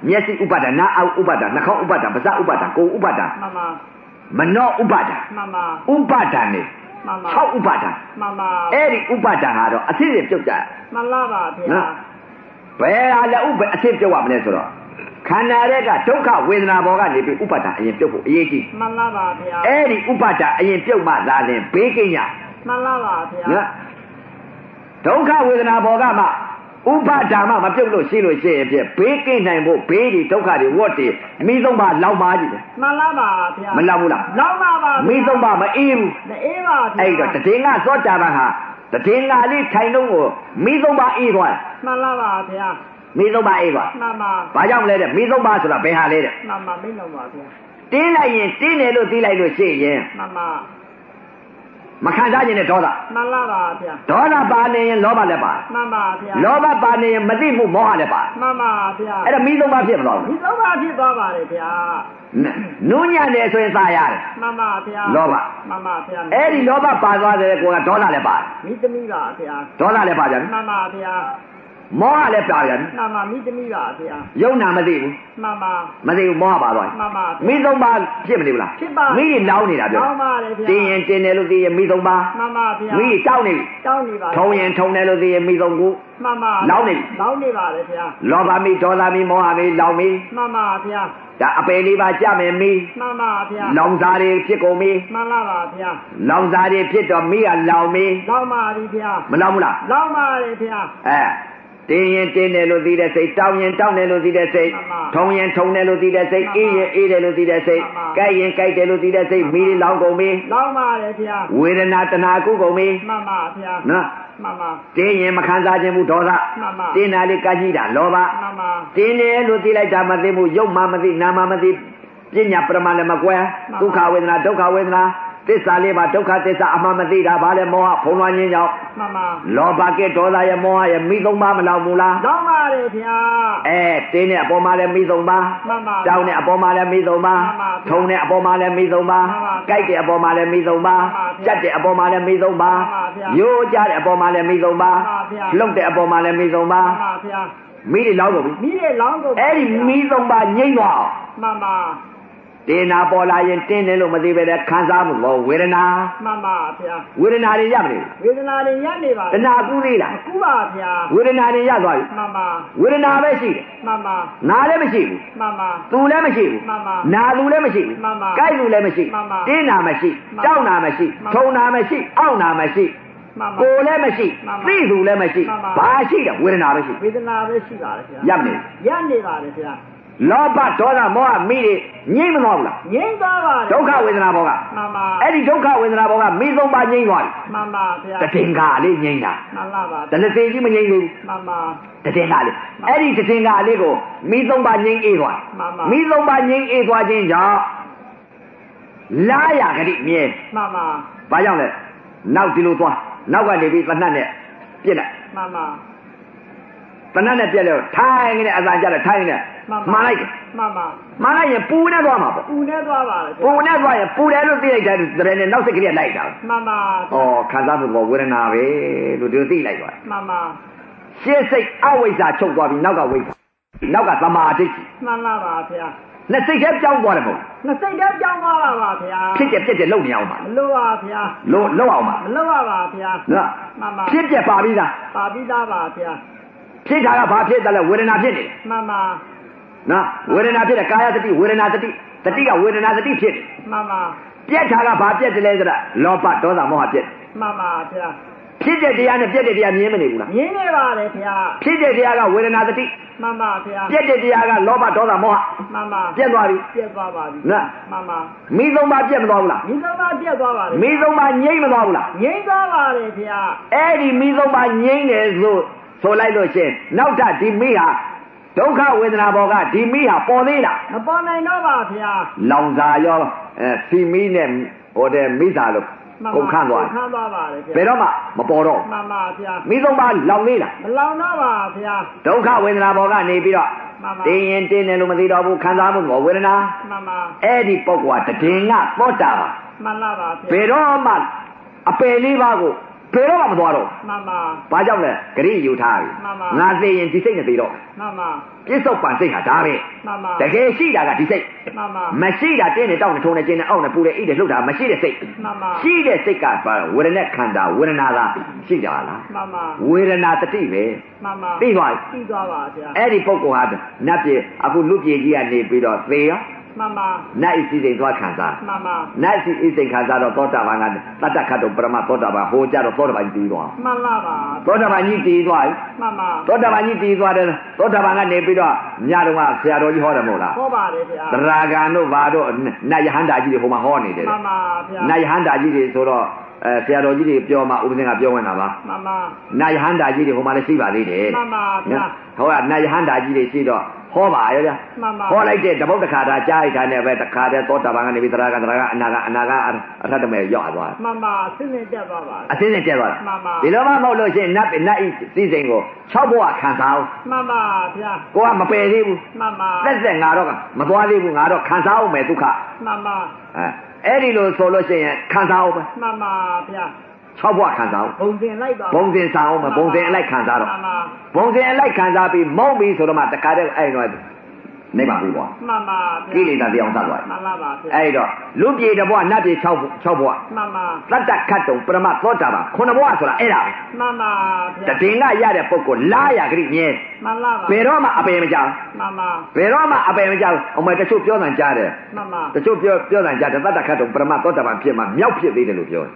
Speaker 1: မျက်စိဥပဒံနားအောက်ဥပဒံနှာခေါင်းဥပဒံပါးစပ်ဥပဒံကိုယ်ဥပဒံ
Speaker 2: မှန်ပါ
Speaker 1: မနောဥပဒံ
Speaker 2: မှန်ပါ
Speaker 1: ဥပဒံနေ
Speaker 2: မှန်ပါ
Speaker 1: 6ဥပဒံ
Speaker 2: မှန်ပါ
Speaker 1: အဲ့ဒီဥပဒဏ်ဟာတော့အဖြစ်ဖြစ်ပြုတ်ကြတယ်
Speaker 2: မှန်လားပါဗျာ
Speaker 1: ဘယ်ဟာလဲဥပအဖြစ်ပြုတ်ရမလဲဆိုတော့ခန္ဓာရဲ့ကဒုက္ခဝေဒနာဘောကနေပြီးဥပဒဏ်အရင်ပြုတ်ဖို့အရေးကြီး
Speaker 2: မှန်လားပါဗျာ
Speaker 1: အဲ့ဒီဥပဒဏ်အရင်ပြုတ်မှသာလင်ဘေးကိညာ
Speaker 2: မှန်လားပါဗျာ
Speaker 1: နော်ဒုက္ခဝေဒနာဘောကမှဥပဒဏ်မှမပြုတ်လို့ရှိလို့ရှိရင်ဖြင့်ဘေးကိနိုင်ဖို့ဘေးဒီဒုက္ခတွေဝတ်တွေမိသုံးပါလောက်ပါကြည့်တယ်
Speaker 2: မှန်လားပါဗျာ
Speaker 1: မလောက်ဘူးလား
Speaker 2: လောက်ပါပါ
Speaker 1: မိသုံးပါမအေးဘူး
Speaker 2: မအေးပါဗျာ
Speaker 1: အဲ့တော့တည်ငါသောတာပန်ဟာတည်ငါလေးထိုင်တော့ကိုမိသုံးပါအေးသွားတယ်
Speaker 2: မှန်လားပါဗျာ
Speaker 1: မိသုံးပါအေးသွား
Speaker 2: မှန်ပါ
Speaker 1: ။ဘာကြောင့်လဲတဲ့မိသုံးပါဆိုတာဘယ်ဟာလဲတဲ့
Speaker 2: မှန်ပါမင်းလုံးပါဗျာ
Speaker 1: ။တင်းလိုက်ရင်တင်းတယ်လို့သိလိုက်လို့ရှိရင်
Speaker 2: မှန်ပါ
Speaker 1: မခံစားခြင်းနဲ့ဒေါသ
Speaker 2: မှန်လားပါဗျာ
Speaker 1: ။ဒေါသပါနေရင်လောဘလည်းပါ
Speaker 2: မှန်ပါဗျာ
Speaker 1: ။လောဘပါနေရင်မသိမှုမောဟလည်းပါ
Speaker 2: မှန်ပါဗျာ
Speaker 1: ။အဲ့ဒါမိသုံးပါဖြစ်မသွား
Speaker 2: ဒီ
Speaker 1: ဘူး
Speaker 2: တော့ပါဖြစ်သွားပါတယ်ဗျာ
Speaker 1: ။နုညံ့တယ်ဆိုရင်သာရတယ်
Speaker 2: မှန်ပါဗျာ
Speaker 1: လောဘ
Speaker 2: မှန်ပါဗျာ
Speaker 1: ။အဲ့ဒီလောဘပါသွားတဲ့ကောင်ကဒေါသလည်းပါ
Speaker 2: မိသမီးပါဗျာ
Speaker 1: ။ဒေါသလည်းပါကြတယ်
Speaker 2: မှန်ပါဗျာ
Speaker 1: ။မောဟလည်းပါကြတယ်
Speaker 2: မှန်ပါမိသမီးပါဗျာ
Speaker 1: ။ယုံနာမသိဘူး
Speaker 2: မှန်ပါ
Speaker 1: ။မသိဘူးမောဟပါသွားတယ်
Speaker 2: မှန်ပါ
Speaker 1: ။မိသုံးပါဖြစ်မနေဘူးလား
Speaker 2: ဖြစ်ပါ
Speaker 1: မိတွေလောင်းနေတာပြော
Speaker 2: တောင်းပါလေဗျာ
Speaker 1: တင်းရင်တင်းတယ်လို့သိရင်မိသုံးပါ
Speaker 2: မှန်ပါဗျာ
Speaker 1: မိတွေတောင်းနေပြီ
Speaker 2: တောင်းနေပါလေ
Speaker 1: ထုံရင်ထုံတယ်လို့သိရင်မိသုံးခု
Speaker 2: မှန်ပါ
Speaker 1: လောင်းနေ
Speaker 2: လောင်းနေပါလေဗျာ
Speaker 1: လောဘမိဒေါသမိမောဟမိလောင်မိ
Speaker 2: မှန်ပါဗျာ
Speaker 1: ဒါအပယ်လေးပါကြမယ်မိ
Speaker 2: မှန်ပါဗျာ
Speaker 1: လောင်စားတွေဖြစ်ကုန်မိ
Speaker 2: မှန်လားပါဗျာ
Speaker 1: လောင်စားတွေဖြစ်တော့မိကလောင်မိ
Speaker 2: လောင်းပါလေဗျာ
Speaker 1: မလောင်ဘူးလား
Speaker 2: လောင်းပါလေဗျာ
Speaker 1: အဲတင်းရင်တင်းတယ်လို့သိတဲ့စိတ်တောင်းရင်တောင်းတယ်လို့သိတဲ့စိတ်
Speaker 2: မှန်ပါ
Speaker 1: ထုံရင်ထုံတယ်လို့သိတဲ့စိတ်
Speaker 2: မှ
Speaker 1: အေး
Speaker 2: န်
Speaker 1: ရ
Speaker 2: ပါ
Speaker 1: င်အေးတယ်လို့သိတဲ့စိတ်
Speaker 2: မှန်ပါ
Speaker 1: ကြိုက်ရင်ကြိုက်တယ်လို့သိတဲ့စိတ်မိတွေလောင်ကုန်မိ
Speaker 2: လောင်းပါလေဗျာ
Speaker 1: ဝေဒနာတဏှာကုကုန်မိ
Speaker 2: မှန်ပါဗျာ
Speaker 1: နော်
Speaker 2: မှန်ပါ
Speaker 1: တင်းရင်မခံစားခြင်းဘူးဒေါသ
Speaker 2: မှန်ပါ
Speaker 1: တင်းတာလေးကကြီးတာလောဘ
Speaker 2: မှန်ပါ
Speaker 1: တင်းတယ်လို့သိလိုက်တာမသိဘူးယုတ်မှမသိနာမှမသိပညာပရမလည်းမကွဲဒုက္ခဝေဒနာဒုက္ခဝေဒနာ သစ္စာလေးပါဒုက္ခသစ္စာအမှန်မသိတာဘာလဲမောဟဖုံးလွှမ်းခြင်းကြောင့်
Speaker 2: မှန်ပါ
Speaker 1: လောဘကဲဒေါသရဲ့မောဟရဲ့မိသုံးပါမလောက်ဘူးလား
Speaker 2: လောင်းပါတယ်ဗျာ
Speaker 1: အဲတင်းတဲ့အပေါ်မှာလည်းမိသုံးပါ
Speaker 2: မှန်ပါ
Speaker 1: တောင်းတဲ့အပေါ်မှာလည်းမိသုံးပါ
Speaker 2: မှန်ပါ
Speaker 1: ထုံတဲ့အပေါ်မှာလည်းမိသုံးပါ
Speaker 2: မှန်ပါ
Speaker 1: ကြိုက်တဲ့အပေါ်မှာလည်းမိသုံးပါ
Speaker 2: မှန်ပါ
Speaker 1: ကြက်တဲ့အပေါ်မှာလည်းမိသုံးပါ
Speaker 2: မှန်ပါဗျာ
Speaker 1: ရိုးကြတဲ့အပေါ်မှာလည်းမိသုံးပါ
Speaker 2: မှန်ပါဗျာ
Speaker 1: လှုပ်တဲ့အပေါ်မှာလည်းမိသုံးပါ
Speaker 2: မှန်ပါဗျာ
Speaker 1: မိတွေလောက်တော့ပြီ
Speaker 2: မိရဲ့လောင်းကို
Speaker 1: အဲ့ဒီမိသုံးပါငိမ့်သွားအောင်
Speaker 2: မှန်ပါ
Speaker 1: တင်နာပေါ်လာရင်တင်းတယ်လို့မသိပဲနဲ့ခံစားမှုတော့ဝေဒနာ
Speaker 2: မှန်ပါဗျာ
Speaker 1: ဝေဒနာတွေရမလို့
Speaker 2: ဝေဒနာတွေရပ်နေပါ
Speaker 1: တဏှာကူးသေးလား
Speaker 2: အခုပါဗျာ
Speaker 1: ဝေဒနာတွေရသွားပြီ
Speaker 2: မှန်ပါ
Speaker 1: ဝေဒနာပဲရှိတယ်
Speaker 2: မှန်ပါ
Speaker 1: နာလည်းမရှိဘူး
Speaker 2: မှန်ပါ
Speaker 1: သူလည်းမရှိဘူး
Speaker 2: မှန်ပါ
Speaker 1: နာသူလည်းမရှိဘူး
Speaker 2: မှန်ပါ
Speaker 1: ကြိုက်သူလည်းမရှိ
Speaker 2: မှန်ပါ
Speaker 1: တင်းနာမရှိ
Speaker 2: မှန်ပါ
Speaker 1: တောက်နာမရှိ
Speaker 2: မှန်ပါ
Speaker 1: ထုံနာမရှိအောင့်နာမရှိ
Speaker 2: မှန်ပါ
Speaker 1: ကိုယ်လည်းမရှိ
Speaker 2: မှန်ပါ
Speaker 1: သိသူလည်းမရှိ
Speaker 2: မှန်ပါ
Speaker 1: ဘာရှိတယ်ဝေဒနာပဲရှိ
Speaker 2: ဝေဒနာပဲရှိပါတယ်ဗျာ
Speaker 1: ရမလို့
Speaker 2: ရပ်နေပါတယ်ဗျာ
Speaker 1: လောဘဒေါသမောဟမိတွေငြိမ့်မသွားဘူးလား
Speaker 2: ငြိမ်းသွားပါတယ်
Speaker 1: ဒုက္ခဝေဒနာဘောက
Speaker 2: မှန်ပါ
Speaker 1: အဲ့ဒီဒုက္ခဝေဒနာဘောကမိသုံးပါငြိမ့်သွား
Speaker 2: မှန်ပါဗျာ
Speaker 1: တယ်တတင်္ဂါလေးငြိမ့်တာ
Speaker 2: မှန်လားပါ
Speaker 1: တနသိကြီးမငြိမ့်သေးဘူး
Speaker 2: မှန်ပါ
Speaker 1: တည်ငါလေးအဲ့ဒီတည်ငါလေးကိုမိသုံးပါငိမ့်အေးသွား
Speaker 2: မှန်ပါ
Speaker 1: မိသုံးပါငိမ့်အေးသွားခြင်းကြောင့်လာရကတိမြဲ
Speaker 2: မှန်ပါ
Speaker 1: ဘာကြောင့်လဲနောက်ဒီလိုသွားနောက်ကနေပြီးသနတ်နဲ့ပြစ်လိုက်
Speaker 2: မှန်ပါ
Speaker 1: သနတ်နဲ့ပြက်လဲထိုင်နေတဲ့အသာကြတယ်ထိုင်နေ
Speaker 2: မှန်ပါ
Speaker 1: မှန်လိုက်တယ်
Speaker 2: မှန်ပါ
Speaker 1: မှန်လိုက်ရင်ပူနဲ့သွားမှာပေါ့
Speaker 2: ပူနဲ့သွားပါလေ
Speaker 1: ပူနဲ့သွားရင်ပူတယ်လို့သိလိုက်တယ်သူတည်းနဲ့နောက်စိတ်ကလေးကလိုက်တာ
Speaker 2: မှန်ပါ
Speaker 1: ဩခံစားမှုပေါ်ဝေဒနာပဲလို့ဒီလိုသိလိုက်သွား
Speaker 2: မှန်ပါ
Speaker 1: ရှင်းစိတ်အဝိဇ္ဇာချုပ်သွားပြီးနောက်ကဝိဇ္ဇာနောက်ကသမာဓိ
Speaker 2: မှန်လားပါဗျာ
Speaker 1: နဲ့စိတ်ထဲပြောင်းသွားတယ်ပေါ့
Speaker 2: ငါစိတ်တော့ကြောင်းသွားပါပါဗျာ
Speaker 1: ဖြစ်ကြက်ဖြစ်ကြက်လုံနေအောင်ပါ
Speaker 2: မလို့ပါဗျာ
Speaker 1: လုံလုံအောင်ပါ
Speaker 2: မလို့ပါပါဗျာ
Speaker 1: နော်
Speaker 2: မှန်ပါ
Speaker 1: ဖြစ်ကြက်ပါပြီလား
Speaker 2: ပါပြီးသားပါဗျာ
Speaker 1: ဖြစ်တာကဘာဖြစ်တယ်လဲဝေဒနာဖြစ်နေတယ်
Speaker 2: မှန်ပါ
Speaker 1: နော်ဝေဒနာဖြစ်တယ်ကာယတတိဝေဒနာတတိတတိကဝေဒနာတတိဖြစ်တယ်
Speaker 2: မှန်ပါ
Speaker 1: ပြက်တာကဘာပြက်တယ်လဲဆိုတာလောဘဒေါသမောဟပြက်တယ်
Speaker 2: မှန်ပါဗျာ
Speaker 1: ဖြစ်တဲ့တရားနဲ့ပြက်တဲ့တရားမြင်မနေဘူးလား
Speaker 2: မြင်နေပါလေဗျာ
Speaker 1: ဖြစ်တဲ့တရားကဝေဒနာတတိ
Speaker 2: မှန်ပါဗျာ
Speaker 1: ပြက်တဲ့တရားကလောဘဒေါသမောဟ
Speaker 2: မှန်ပါ
Speaker 1: ပြက်သွားပြီ
Speaker 2: ပြက်သွားပါပြီ
Speaker 1: နော်
Speaker 2: မှန်ပါ
Speaker 1: မိသုံးပါပြက်မသွားဘူးလား
Speaker 2: မိသားသားပြက်သွားပါလေ
Speaker 1: မိသုံးပါငြိမ့်မသွားဘူးလား
Speaker 2: ငြိမ်းသွားပါလေဗျာ
Speaker 1: အဲ့ဒီမိသုံးပါငြိမ့်တယ်ဆိုဆိုလိုက်လို့ရှရင်နောက်ထပ်ဒီမိဟာဒုက္ခဝေဒနာဘောကဒီမိဟာပေါ်သေးလား
Speaker 2: မပေါ်နိုင်တော့ပါဗျာ
Speaker 1: လောင်စာရောအဲစီမီနဲ့ဟိုတဲ့မိစာလို့
Speaker 2: မှန်ပါ
Speaker 1: ကုန်ခန့်သွား
Speaker 2: ကုန်ခန့်သွားပါလေ
Speaker 1: ဘယ်
Speaker 2: ဗျာ
Speaker 1: တော့မှမပေါ်တော့
Speaker 2: မှန်ပါဗျာ
Speaker 1: မိသုံးပါလောင်လေးလား
Speaker 2: မလောင်တော့ပါဗျာ
Speaker 1: ဒုက္ခဝေဒနာပေါ်ကနေပြီးတော့
Speaker 2: မှန်ပါ
Speaker 1: တင်းရင်တင်းတယ်လို့မသိတော့ဘူးခံစားမှုကဝေဒနာ
Speaker 2: မှန်ပါ
Speaker 1: အဲ့ဒီပုဂ္ဂိုလ်ကတည်ငါသောတာပါ
Speaker 2: မှန်လားပါ
Speaker 1: ဘ
Speaker 2: ဗျာ
Speaker 1: ယ်တော့မှအပယ်လေးပါးကိုဘယ်တော့မှမသွားတော့
Speaker 2: မှန်ပါ
Speaker 1: ဘူးဘာကြောင့်လဲဂရိယူထားပြီ
Speaker 2: မှန်ပါ
Speaker 1: ငါသိရင်ဒီစိတ်နဲ့သိတော့
Speaker 2: မှန်ပါ
Speaker 1: ပြစ္ဆုတ်ပန်စိတ်ဟာဒါပဲ
Speaker 2: မှန်ပါ
Speaker 1: တကယ်ရှိတာကဒီစိတ်
Speaker 2: မှန်ပါ
Speaker 1: မရှိတာတင်းနဲ့တောက်နဲ့ထုံနဲ့ကျင်းနဲ့အောင့်နဲ့ပူနဲ့အိနဲ့လှုပ်တာမရှိတဲ့စိတ်
Speaker 2: မှန်ပါ
Speaker 1: ရှိတဲ့စိတ်ကပါဝေဒနာခန္ဓာဝေဒနာကရှိကြလား
Speaker 2: မှန်ပါ
Speaker 1: ဝေဒနာတတိပဲ
Speaker 2: မှန်ပါ
Speaker 1: သိသွားပြီ
Speaker 2: သိသွားပါဗျာ
Speaker 1: အဲ့ဒီပုဂ္ဂိုလ်ဟာနတ်ပြည်အခုလူပြည်ကြီးကနေပြီးတော့သေရော
Speaker 2: မှန်ပါ
Speaker 1: နတ်ဣသိစိန်သွားခံစား
Speaker 2: မှန်ပါ
Speaker 1: နတ်ဣသိစိန်ခံစားတော့သောတာပန်ကတတ္တခတ်တော့ပရမသောတာပန်ဟိုကြတော့သောတာပန်ကြီးတည်သွား
Speaker 2: မှန်လားပါ
Speaker 1: သောတာပန်ကြီးတည်သွားပြီ
Speaker 2: မှန်ပါ
Speaker 1: သောတာပန်ကြီးတည်သွားတယ်သောတာပန်ကနေပြီးတော့ညတော့ကဆရာတော်ကြီးဟောတယ်မဟုတ်လား
Speaker 2: ဟောပါလေဗျာ
Speaker 1: တရာဂံတို့ဘာတို့နတ်ယဟန္တာကြီးတွေဟိုမှာဟောနေတယ်
Speaker 2: မှန်ပါဗျာ
Speaker 1: နတ်ယဟန္တာကြီးတွေဆိုတော့အဲဆရာတော်ကြီးတွေပြောမှဥပဒေကပြောဝင်တာပါ
Speaker 2: မှန်ပါ
Speaker 1: နာယဟန္တာကြီးတွေဟိုမှာလည်းရှိပါသေးတယ်
Speaker 2: မှန်ပါဗျာ
Speaker 1: နော်ဟိုကနာယဟန္တာကြီးတွေရှိတော့ဟောပါရောဗျာ
Speaker 2: မှန်ပါ
Speaker 1: ဟောလိုက်တဲ့တပုတ်တစ်ခါတာကြားလိုက်တာနဲ့ပဲတစ်ခါတည်းသောတာပန်ကနေပြီးသရဂံသရဂံအနာဂံအနာဂံအရထတမေရောက်သွားတယ်
Speaker 2: မှန်ပါစဉ်းနေတက်သွားပါလေ
Speaker 1: အစင်းစင်းကျက်သွားတာ
Speaker 2: မှန်ပါ
Speaker 1: ဒီလိုမှမဟုတ်လို့ရှိရင်နတ်ပြည်နတ်ဤစီစဉ်ကို၆ဘဝခံစားအောင်
Speaker 2: မှန်ပါဗျာ
Speaker 1: ကိုကမပယ်သေးဘူး
Speaker 2: မှန်ပါ
Speaker 1: သက်သက်ငါတော့မသွားသေးဘူးငါတော့ခံစားအောင်မယ်ဒုက္ခ
Speaker 2: မှန်ပါ
Speaker 1: အဲအဲ့ဒီလိုဆိုလို့ရှိရင်ခံစားအောင်ပဲ
Speaker 2: မှန်ပါဗျာ
Speaker 1: ၆ဘဝခံစားအောင်
Speaker 2: ဘုံတင်လိုက်ပါ
Speaker 1: ဘုံစင်စားအောင်မယ်ဘုံစင်အလိုက်ခံစားတော့
Speaker 2: မှန်ပါ
Speaker 1: ဘုံစင်အလိုက်ခံစားပြီးမုံပြီးဆိုတော့မှတခါတည်းအဲ့တော့နေပါဘူးကွာ
Speaker 2: မှန်ပါ
Speaker 1: ကိလေသာတရားဆက်သွားတယ်
Speaker 2: မှန်လားပါဗျာ
Speaker 1: အဲ့တော့လူပြေတစ်ဘွားနတ်ပြေ6ဘွား6ဘွား
Speaker 2: မှန်ပါ
Speaker 1: တတ္တခတ်တုံပရမသောတာပါခုနှစ်ဘွားဆိုတာအဲ့ဒါပဲ
Speaker 2: မှန်ပါ
Speaker 1: တ
Speaker 2: ဗျာ
Speaker 1: တင်ကရတဲ့ပုဂ္ဂိုလ်လာရကြိမြဲ
Speaker 2: မှန်လားပါ
Speaker 1: ဘယ်တော့မှအပယ်မကြောက်
Speaker 2: မှန်ပါ
Speaker 1: ဘယ်တော့မှအပယ်မကြောက်အမေတချို့ပြောတန်ကြားတယ်
Speaker 2: မှန်ပါ
Speaker 1: တချို့ပြောပြောတန်ကြားတယ်တတ္တခတ်တုံပရမသောတာပါဖြစ်မှာမြောက်ဖြစ်သေးတယ်လို့ပြောတယ်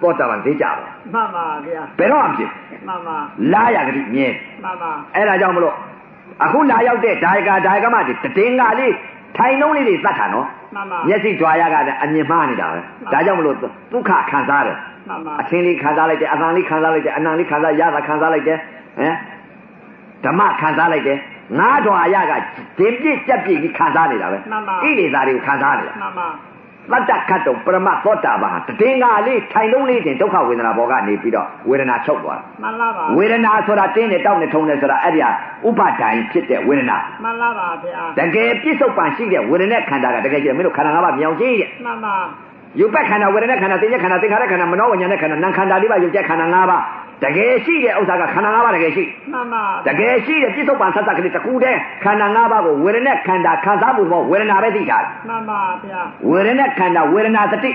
Speaker 1: သောတာပန်သိကြပါ
Speaker 2: မှန်ပါဗျာ
Speaker 1: ဘယ်တော့မှမဖြစ်
Speaker 2: မှန်ပါ
Speaker 1: လာရကြိမြဲ
Speaker 2: မှန်ပါ
Speaker 1: အဲ့ဒါကြောင့်မလို့အခုလာရောက်တဲ့ဒါယကာဒါယကမတွေတည်ငါလေးထိုင်နှုံးလေးတွေတတ်တာနော်
Speaker 2: မှန်ပါ
Speaker 1: မျက်စိကြွာရကလည်းအမြင်မှားနေတာပဲဒါကြောင့်မလို့ဒုက္ခခံစားတယ်
Speaker 2: မှန်ပါ
Speaker 1: အချင်းလေးခံစားလိုက်တယ်အသံလေးခံစားလိုက်တယ်အနံလေးခံစားရတာခံစားလိုက်တယ်ဟမ်ဓမ္မခံစားလိုက်တယ် ငါးတော်အရာကဒင်ပြည့်ကြက်ပြည့်ကြီးခံစားနေတာပဲ
Speaker 2: မှန်ပါ
Speaker 1: ဣလေသာတွေကိုခံစားနေတာ
Speaker 2: မှန်ပါ
Speaker 1: တတ္တခတ်တော့ပရမတ်သောတာပန်ဟာတည်ငါလေးထိုင်လုံးလေးတင်ဒုက္ခဝေဒနာဘောကနေပြီးတော့ဝေဒနာချုပ်သွားတာ
Speaker 2: မှန်လားပါ
Speaker 1: ဝေဒနာဆိုတာတင်းနဲ့တောက်နဲ့ထုံနဲ့ဆိုတာအဲ့ဒီဟာဥပါဒိုင်ဖြစ်တဲ့ဝေဒနာ
Speaker 2: မှန်လားပါဗျာ
Speaker 1: တကယ်ပြစ္ဆုတ်ပန်ရှိတဲ့ဝေဒနာခန္ဓာကတကယ်ကြည့်မင်းတို့ခန္ဓာငါးပါးမြောင်ကြီးတဲ့
Speaker 2: မှန်ပါ
Speaker 1: ရုပ်ပတ်ခန္ဓာဝေဒနာခန္ဓာသင်္ခါရခန္ဓာသင်္ခါရခန္ဓာမနောဝိညာဏခန္ဓာနာမ်ခန္ဓာလေးပါရုပ်ချက်ခန္ဓာ၅ပါးတကယ်ရှိတဲ့ဥစ္စာကခန္ဓာ၅ပါးတကယ်ရှိ
Speaker 2: မှန်ပါ
Speaker 1: တကယ်ရှိတဲ့ပြစ္ဆုတ်ပန်သတ္တကလေးတစ်ခုတည်းခန္ဓာ၅ပါးကိုဝေဒနာခန္ဓာခံစားမှုသဘောဝေဒနာပဲသိတာ
Speaker 2: မှန်ပါဗျာ
Speaker 1: ဝေဒနာခန္ဓာဝေဒနာသတိ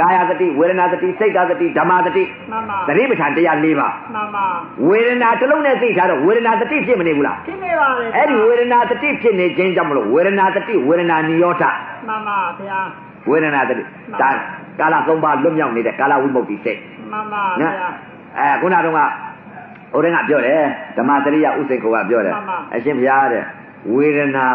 Speaker 1: ကာယသတိဝေဒနာသတိစိတ်သတိဓမ္မသတိ
Speaker 2: မှန်ပါ
Speaker 1: သတိပဋ္ဌာန်တရား၄ပါး
Speaker 2: မှန်ပါ
Speaker 1: ဝေဒနာတစ်လုံးနဲ့သိတာတော့ဝေဒနာသတိဖြစ်မနေဘူးလား
Speaker 2: ဖြစ်နေပါလေ
Speaker 1: အဲ့ဒီဝေဒနာသတိဖြစ်နေခြင်းကြောင့်မလို့ဝေဒနာသတိဝေဒနာနိရောဓ
Speaker 2: မှန်ပါဗျာ
Speaker 1: ဝေဒနာသတိဒါကာလ၃ပါးလွတ်မြောက်နေတဲ့ကာလဝိမု ക്തി စိတ်
Speaker 2: မှန်ပါ
Speaker 1: နော်
Speaker 2: ဗျာ
Speaker 1: အဲခုနကတော့ကဟိုတန်းကပြောတယ်ဓမ္မစရိယဥစိတ်ကိုကပြောတယ်
Speaker 2: မှန်ပါ
Speaker 1: အရှင်ဘုရားတဲ့ဝေဒနာ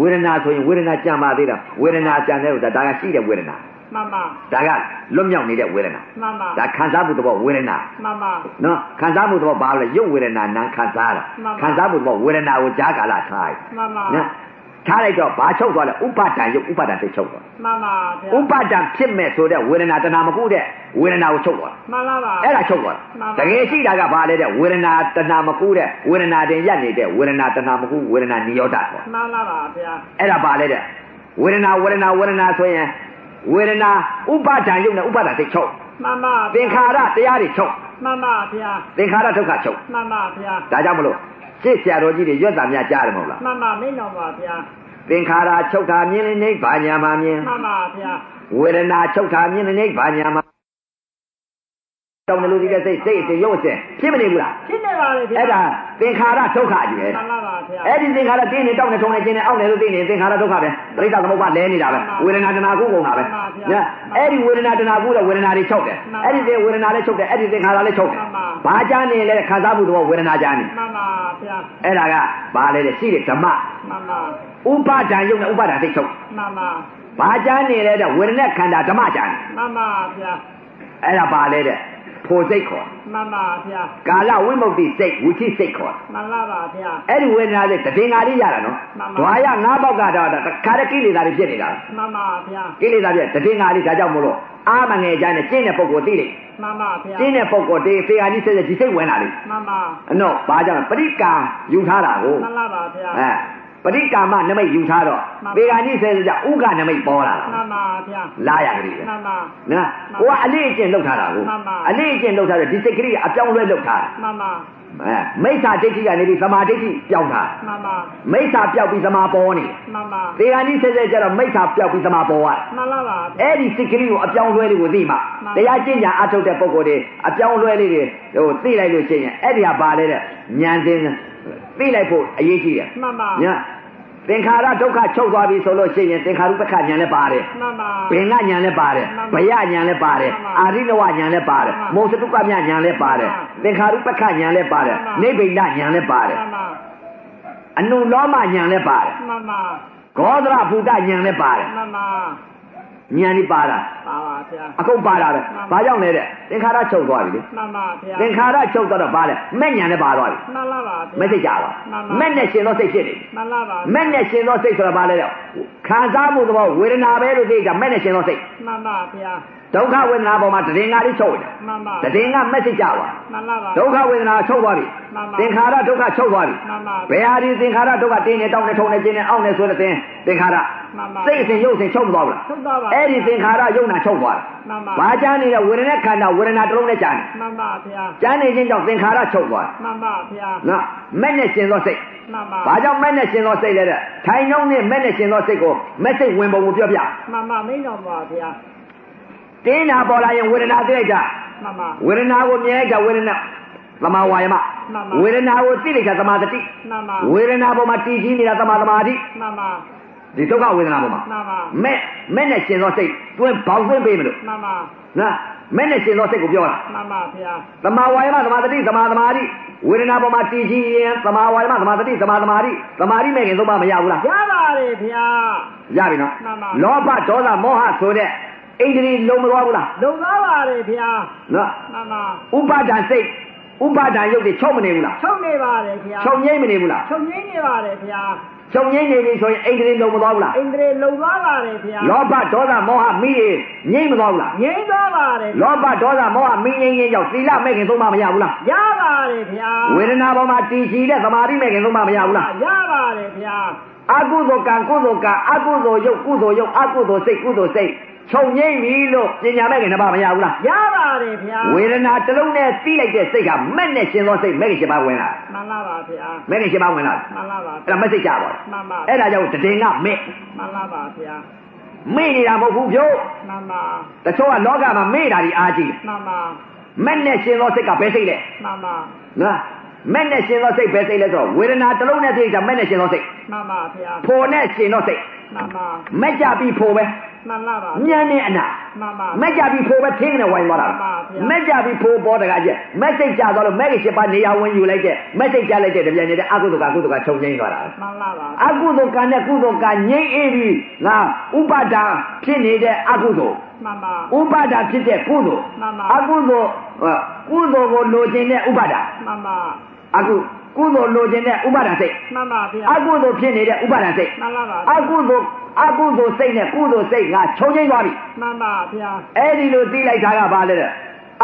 Speaker 1: ဝေဒနာဆိုရင်ဝေဒနာကြံပါသေးတာဝေဒနာကြံတယ်ဆိုတာဒါကရှိတဲ့ဝေဒနာ
Speaker 2: မှန်ပါ
Speaker 1: ဒါကလွတ်မြောက်နေတဲ့ဝေဒနာ
Speaker 2: မှန်ပါ
Speaker 1: ဒါခံစားမှုသဘောဝေဒနာ
Speaker 2: မှန်ပါ
Speaker 1: နော်ခံစားမှုသဘောဘာလဲရုပ်ဝေဒနာနာမ်ခံစားတာ
Speaker 2: မှန်ပါ
Speaker 1: ခံစားမှုသဘောဝေဒနာကိုကြားကာလထားတယ်
Speaker 2: မှန်ပါ
Speaker 1: နော်ထားလိုက်တော့ဘာချုပ်သွားလဲဥပါဒံရုပ်ဥပါဒံသိချုပ်သွား
Speaker 2: မှန်ပါ
Speaker 1: ဥပါဒံ
Speaker 2: ဗျာ
Speaker 1: ဖြစ်မဲ့ဆိုတဲ့ဝေဒနာတဏှာမကုတဲ့ဝေဒနာကိုချုပ်သွားတာ
Speaker 2: မှန်လားပါ
Speaker 1: အဲ့ဒါချုပ်သွား
Speaker 2: မှန်
Speaker 1: တာ
Speaker 2: ပါ
Speaker 1: တကယ်ရှိတာကဘာလဲတဲ့ဝေဒနာတဏမကူတဲ့ဝေဒနာတင်ရက်နေတဲ့ဝေဒနာတဏမကူဝေဒနာနိရောဓပေါ့
Speaker 2: မှန်လားပါဗျာ
Speaker 1: အဲ့ဒါဘာလဲတဲ့ဝေဒနာဝေဒနာဝေဒနာဆိုရင်ဝေဒနာဥပါဒံရုပ်နဲ့ဥပါဒံစိတ်ချုပ်
Speaker 2: မှန်ပါ
Speaker 1: သင်္ခါရတရားတွေချုပ်
Speaker 2: မှန်ပါဗျာ
Speaker 1: သင်္ခါရဒုက္ခချုပ်
Speaker 2: မှန်ပါဗျာ
Speaker 1: ဒါကြောင့်မလို့ရှေ့ဆရာတော်ကြီးတွေရွက်တာများကြားတယ်မဟုတ်လား
Speaker 2: မှန်ပါမင်းတော်ပါဗျာ
Speaker 1: သင်္ခါရချုပ်တာမြင်နေနေဘာညာမှာမြင်
Speaker 2: မှန်ပါဗျာ
Speaker 1: ဝေဒနာချုပ်တာမြင်နေနေဘာညာမှာတောင်းတယ်လို့ဒီကစိတ်စိတ်အစဉ်ရုပ်အစဉ်ဖြစ်မနေဘူးလား
Speaker 2: ဖြစ်နေပါလေဗျာ
Speaker 1: အဲ့ဒါသင်္ခါရဒုက္ခကြီးပဲ
Speaker 2: မှန်လားပါဗျာ
Speaker 1: အဲ့ဒီသင်္ခါရတင်းနေတောက်နေထုံနေခြင်းနဲ့အောက်နေလို့သိနေသင်္ခါရဒုက္ခပဲပရိစ္ဆသမုပ္ပါလဲနေတာပဲဝေဒနာတနာကုကုန်တာပဲ
Speaker 2: မှန်ပါဗျာ
Speaker 1: အဲ့ဒီဝေဒနာတနာကုတဲ့ဝေဒနာတွေချုပ်တယ်
Speaker 2: မှန်ပါ
Speaker 1: အဲ့ဒီသေဝေဒနာလည်းချုပ်တယ်အဲ့ဒီသင်္ခါရလည်းချုပ်တယ်
Speaker 2: မှန်ပါ
Speaker 1: ဘာကြမ်းနေလဲခံစားမှုတော့ဝေဒနာကြမ်းနေ
Speaker 2: မှန်ပါဗျာ
Speaker 1: အဲ့ဒါကဘာလဲတဲ့ရှိတဲ့ဓမ္မ
Speaker 2: မှန်ပါ
Speaker 1: ဥပါဒံယုံနဲ့ဥပါဒံသိချုပ်
Speaker 2: မှန်ပါ
Speaker 1: ဘာကြမ်းနေလဲတဲ့ဝေဒနာခန္ဓာဓမ္မကြမ်းနေ
Speaker 2: မှန်ပါဗျာ
Speaker 1: အဲ့ဒါဘာလဲတဲ့ဖို့စိတ်ခေါ်
Speaker 2: မှန်ပါဗျာ
Speaker 1: ကာလဝိမု ക്തി စိတ်ဝိသိစိတ်ခေါ်
Speaker 2: မှန်လားပါဗျာ
Speaker 1: အဲ့ဒီဝေဒနာလေးတည်ငါလေးရတာနော်
Speaker 2: မှန်ပါ
Speaker 1: ဓွာရငါးပေါက်ကတော့တခါတည်းကိလေသာတွေဖြစ်နေတာ
Speaker 2: မှန်ပါဗျာ
Speaker 1: ကိလေသာပြည့်တည်ငါလေးဒါကြောင့်မလို့အာမငယ်ကြတဲ့ကျင့်တဲ့ပုံကိုသိတယ်
Speaker 2: မှန်ပါဗျာ
Speaker 1: ကျင့်တဲ့ပုံကိုဒီဖေဟာကြီးဆက်ဆက်ဒီစိတ်ဝင်လာတယ်
Speaker 2: မှန်ပါ
Speaker 1: အတော့ဘာကြောင့်ပရိကာယူထားတာကို
Speaker 2: မှန်လားပါဗျာ
Speaker 1: အဲပရိကာမနမိတ်ယူထားတော့
Speaker 2: မှန်ပါ
Speaker 1: ဖေဟာကြီးဆက်ဆက်ကြဥက္ကနမိတ်ပေါ်လာတာ
Speaker 2: မှန်ပါဗျာ
Speaker 1: လာရကြတယ်ပဲ
Speaker 2: မှန်ပါ
Speaker 1: နော်ကိုကအလေးအကျင့်လုပ်ထားတာကို
Speaker 2: မှန်ပါ
Speaker 1: အလေးအကျင့်လုပ်ထားတော့ဒီစိတ်ကလေးအပြောင်းအလဲလုပ်ထားတာ
Speaker 2: မှန်ပါ
Speaker 1: အဲမိစ္ဆာဒိဋ္ဌိကနေပြီးသမာဓိဋ္ဌိပြောင်းထား
Speaker 2: မှန်ပါ
Speaker 1: မိစ္ဆာပြောက်ပြီးသမာပေါ်နေတယ်
Speaker 2: မှန်ပါ
Speaker 1: သေဂာနိဆက်ဆက်ကြတော့မိစ္ဆာပြောက်ပြီးသမာပေါ်ရတယ်
Speaker 2: မှန်လားပါ
Speaker 1: ။
Speaker 2: ဗျာ
Speaker 1: အဲ့ဒီစိတ်ကလေးကိုအပြောင်းလဲလေးကိုသိမှ
Speaker 2: မှန်ပါ
Speaker 1: တရားကျင့်ကြံအထုတ်တဲ့ပုံကိုယ်တွေအပြောင်းလဲလေးတွေဟိုသိလိုက်လို့ရှိရင်အဲ့ဒီဟာပါလေတဲ့ဉာဏ်သင်သိလိုက်ဖို့အရေးကြီးတယ်
Speaker 2: မှန်ပါ
Speaker 1: ။ညာသင်္ခါရဒုက္ခချုပ်သွားပြီဆိုလို့ရှိရင်သင်္ခါရုပ္ပခဉာဏ်လည်းပါတယ်
Speaker 2: မှန်ပါ
Speaker 1: ။ဘင်္ဂညာလည်းပါတယ်
Speaker 2: မှန်ပါ
Speaker 1: ဘယညာလည်းပါတယ်
Speaker 2: မှန်ပါ
Speaker 1: အာရိနဝညာလည်းပါတယ်
Speaker 2: မှန်ပါ
Speaker 1: မုံစတုကမြညာလည်းပါတယ်
Speaker 2: မှန်ပါ
Speaker 1: သင်္ခါရုပ္ပခညာလည်းပါတယ်
Speaker 2: မှန်ပါ
Speaker 1: နိဗ္ဗိဒညာလည်းပါတ
Speaker 2: မှ
Speaker 1: ယ်
Speaker 2: န်ပါ
Speaker 1: အနုလောမညာလည်းပါတယ်
Speaker 2: မှန်ပါ
Speaker 1: ဂောဒရဘုဒ္ဓညာလည်းပါတယ်
Speaker 2: မှန်ပါ
Speaker 1: ဉာဏ်นี่ပါတာ
Speaker 2: ပါပါဗျာ
Speaker 1: အကုန်ပါတာပဲ
Speaker 2: မှန်ပါ
Speaker 1: ဘာကြောင့်လဲတဲ့သင်္ခါရချုပ်သွားပြီ
Speaker 2: မှန်ပါဗျာ
Speaker 1: လေသင်္ခါရချုပ်သွားတော့ဘာလဲမဲ့ညာနဲ့ပါသွားပြီ
Speaker 2: မှန်လားပါဗျာ
Speaker 1: မသိကြပါ
Speaker 2: မှန်ပါ
Speaker 1: ဘူးမဲ့နဲ့ရှင်သောစိတ်ဖြစ်နေ
Speaker 2: မှန်လားပါဗျာ
Speaker 1: မဲ့နဲ့ရှင်သောစိတ်ဆိုတာဘာလဲတဲ့ခံစားမှုသဘောဝေဒနာပဲလို့သိကြမဲ့နဲ့ရှင်သောစိတ်
Speaker 2: မှန်ပါဗျာ
Speaker 1: ဒုက္ခဝေဒနာပေါ်မှာတည်ငါလေးချုပ်နေတာ
Speaker 2: မှန်ပါ
Speaker 1: တည်ငါမဲ့သိကြပါ
Speaker 2: မှန်လားပါ
Speaker 1: ဒုက္ခဝေဒနာချုပ်သွားပြီ
Speaker 2: မှန်ပါ
Speaker 1: သင်္ခါရဒုက္ခချုပ်သွားပြီ
Speaker 2: မှန်ပါ
Speaker 1: ဘယ်ဟာဒီသင်္ခါရဒုက္ခတင်းနေတောင်းနေထုံနေခြင်းနဲ့အောင့်နေဆိုတဲ့သင်သင်္ခါရ
Speaker 2: မှန်ပါ
Speaker 1: စိတ်အစဉ်ရုပ်အစဉ်ချုပ်မသွားဘူးလား
Speaker 2: ထုတ်တော့ပါ
Speaker 1: အဲ့ဒီသင်္ခါရယုံနာချုပ်သွား
Speaker 2: မှန်ပါ
Speaker 1: တာဘာကြားနေလဲဝေဒနာခန္ဓာဝေဒနာတစ်လုံးနဲ့ကြားနေ
Speaker 2: မှန်ပါဗျာ
Speaker 1: ကျမ်းနေခြင်းကြောင့်သင်္ခါရချုပ်သွား
Speaker 2: မှန်ပါဗျာ
Speaker 1: တယ်နော်မဲ့နဲ့ရှင်သောစိတ်
Speaker 2: မှန်ပါ
Speaker 1: ဘာကြောင့်မဲ့နဲ့ရှင်သောစိတ်လဲတဲ့ထိုင်နှုံးနဲ့မဲ့နဲ့ရှင်သောစိတ်ကိုမဲ့စိတ်ဝင်ပုံကိုပြောပြ
Speaker 2: မှန်ပါမင်းတော်ပါဗျာ
Speaker 1: တင်းနာပေါ်လာရင်ဝေဒနာသိလိုက်တာ
Speaker 2: မှန်ပါ
Speaker 1: ဝေဒနာကိုမြင်လိုက်တာဝေဒနာသမာဝါယမ
Speaker 2: မှန်ပါ
Speaker 1: ဝေဒနာကိုသိလိုက်တာသမာသတိ
Speaker 2: မှန်ပါ
Speaker 1: ဝေဒနာပေါ်မှာတည်ကြည်နေတာသမာသမာဓိ
Speaker 2: မှန်ပါ
Speaker 1: ဒီဒုက္ခဝေဒနာပေါ်မှာ
Speaker 2: မှန်ပါ
Speaker 1: မဲ့မဲ့နဲ့ရှင်သောစိတ်တွင်းဘောင်သွင်းပေးမလို့
Speaker 2: မှန်ပါ
Speaker 1: နော်မဲ့နဲ့ရှင်သောစိတ်ကိုပြောတာ
Speaker 2: မှန်ပါဗျာ
Speaker 1: သမာဝါယမသမာသတိသမာသမာဓိဝေဒနာပေါ်မှာတည်ကြည်ရင်သမာဝါယမသမာသတိသမာသမာဓိသမာဓိမဲ့ခင်သုံးပါမရဘူးလား
Speaker 2: ရပါလေဗျာ
Speaker 1: ရပြီနော်
Speaker 2: မှန်ပါ
Speaker 1: လောဘဒေါသမောဟဆိုတဲ့ဣန္ဒြေလုံးမသွားဘူးလား
Speaker 2: လုံသားပါလေဗျာ
Speaker 1: နော်
Speaker 2: မှန်ပါ
Speaker 1: ဥပါဒံစိတ် ဥပါဒံရုပ်တွေချုပ်မနေဘူးလား
Speaker 2: ချုပ်နေပါတယ်ဖျား
Speaker 1: ချုပ်ငိမ့်မနေဘူးလား
Speaker 2: ချုပ်ငိမ့်နေပါတယ်ဖျား
Speaker 1: ချုပ်ငိမ့်နေပြီဆိုရင်အိန္ဒြေလုံးမသွားဘူးလား
Speaker 2: အိန္ဒြေလုံသွားပါတယ်ဖျား
Speaker 1: လောဘဒေါသမောဟမိရင်ငိမ့်မသွားဘူးလား
Speaker 2: ငြိမ်းသွားပါတယ်
Speaker 1: လောဘဒေါသမောဟမိငိမ့်ငိမ့်ကြောင့်သီလမဲ့ခင်သုံးပါမရဘူးလား
Speaker 2: ရပါတယ်ဖျား
Speaker 1: ဝေဒနာပေါ်မှာတည်ရှိတဲ့သမာဓိမဲ့ခင်သုံးပါမရဘူးလား
Speaker 2: ရပါတယ်ဖျား
Speaker 1: အကုသိုလ်ကံကုသိုလ်ကံအကုသိုလ်ရုပ်ကုသိုလ်ရုပ်အကုသိုလ်စိတ်ကုသိုလ်စိတ်ချုပ်ငိမ့်ပြီလို့ပညာမဲ့ခင်နှစ်ပါမရဘူးလား
Speaker 2: ရပါတယ်ဖျား
Speaker 1: ဝေဒနာတစ်လုံးနဲ့သိလိုက်တဲ့စိတ်ကမက်နဲ့ရှင်သောစိတ်မဲ့ခင်ရှင်ပါဝင်လာ
Speaker 2: မှန်လားပါဖျား
Speaker 1: မဲ့ခင်ရှင်ပါဝင်လာ
Speaker 2: မှန်လားပါ
Speaker 1: အဲ့ဒါမက်စိတ်ကြပါဘူး
Speaker 2: မှန်ပါ
Speaker 1: အဲ့ဒါကြောင့်တည်ငါမဲ့
Speaker 2: မှန်လားပါဖျား
Speaker 1: မေ့နေတာမဟုတ်ဘူးဖြို့
Speaker 2: မှန်ပါ
Speaker 1: တချို့ကလောကမှာမေ့တာဒီအားကြီး
Speaker 2: မှန်ပါ
Speaker 1: မက်နဲ့ရှင်သောစိတ်ကဘယ်စိတ်လဲ
Speaker 2: မှန်ပါ
Speaker 1: နော်မက်နဲ့ရှင်သောစိတ်ဘယ်စိတ်လဲဆိုတော့ဝေဒနာတစ်လုံးနဲ့သိတာမက်နဲ့ရှင်သောစိတ်
Speaker 2: မှန်ပါဖျား
Speaker 1: ဖို့နဲ့ရှင်သောစိတ်
Speaker 2: မှန်ပါ
Speaker 1: မက်ကြပြီးဖို့ပဲ
Speaker 2: မှန်လားပါ
Speaker 1: ညံနဲ့အနာ
Speaker 2: မှန်ပါ
Speaker 1: မက်ကြပြီးဖို့ပဲသင်းနဲ့ဝိုင်းသွားတာ
Speaker 2: မှန်ပါဗျာ
Speaker 1: မက်ကြပြီးဖို့ပေါ်တကားကျက်မက်စိတ်ကြသွားလို့မက်ကရှင်ပါနေရာဝင်ယူလိုက်တဲ့မက်စိတ်ကြလိုက်တဲ့တပြိုင်တည်းအကုသိုလ်ကအကုသိုလ်ကချုပ်ငိမ့်သွားတာပဲ
Speaker 2: မှန်လားပါ
Speaker 1: အကုသိုလ်ကံနဲ့ကုသိုလ်ကငြိမ့်အေးပြီးငါဥပါဒံဖြစ်နေတဲ့အကုသိုလ်
Speaker 2: မှန်ပါ
Speaker 1: ဥပါဒာဖြစ်တဲ့ကုသိုလ်
Speaker 2: မှန်ပါ
Speaker 1: အကုသိုလ်ဟောကုသိုလ်ကိုလိုချင်တဲ့ဥပါဒာ
Speaker 2: မှန်ပါ
Speaker 1: အကုကုသိုလ်လိုချင်တဲ့ဥပါဒာစိတ်
Speaker 2: မှန်ပါဖျား
Speaker 1: အကုသိုလ်ဖြစ်နေတဲ့ဥပါဒာစိတ်
Speaker 2: မှန်လားပါ
Speaker 1: အကုသိုလ်အကုသိုလ်စိတ်နဲ့ကုသိုလ်စိတ်ကခြုံငိမ့်သွားပြီ
Speaker 2: မှန်ပါဖျား
Speaker 1: အဲ့ဒီလိုသိလိုက်တာကဘာလဲတဲ့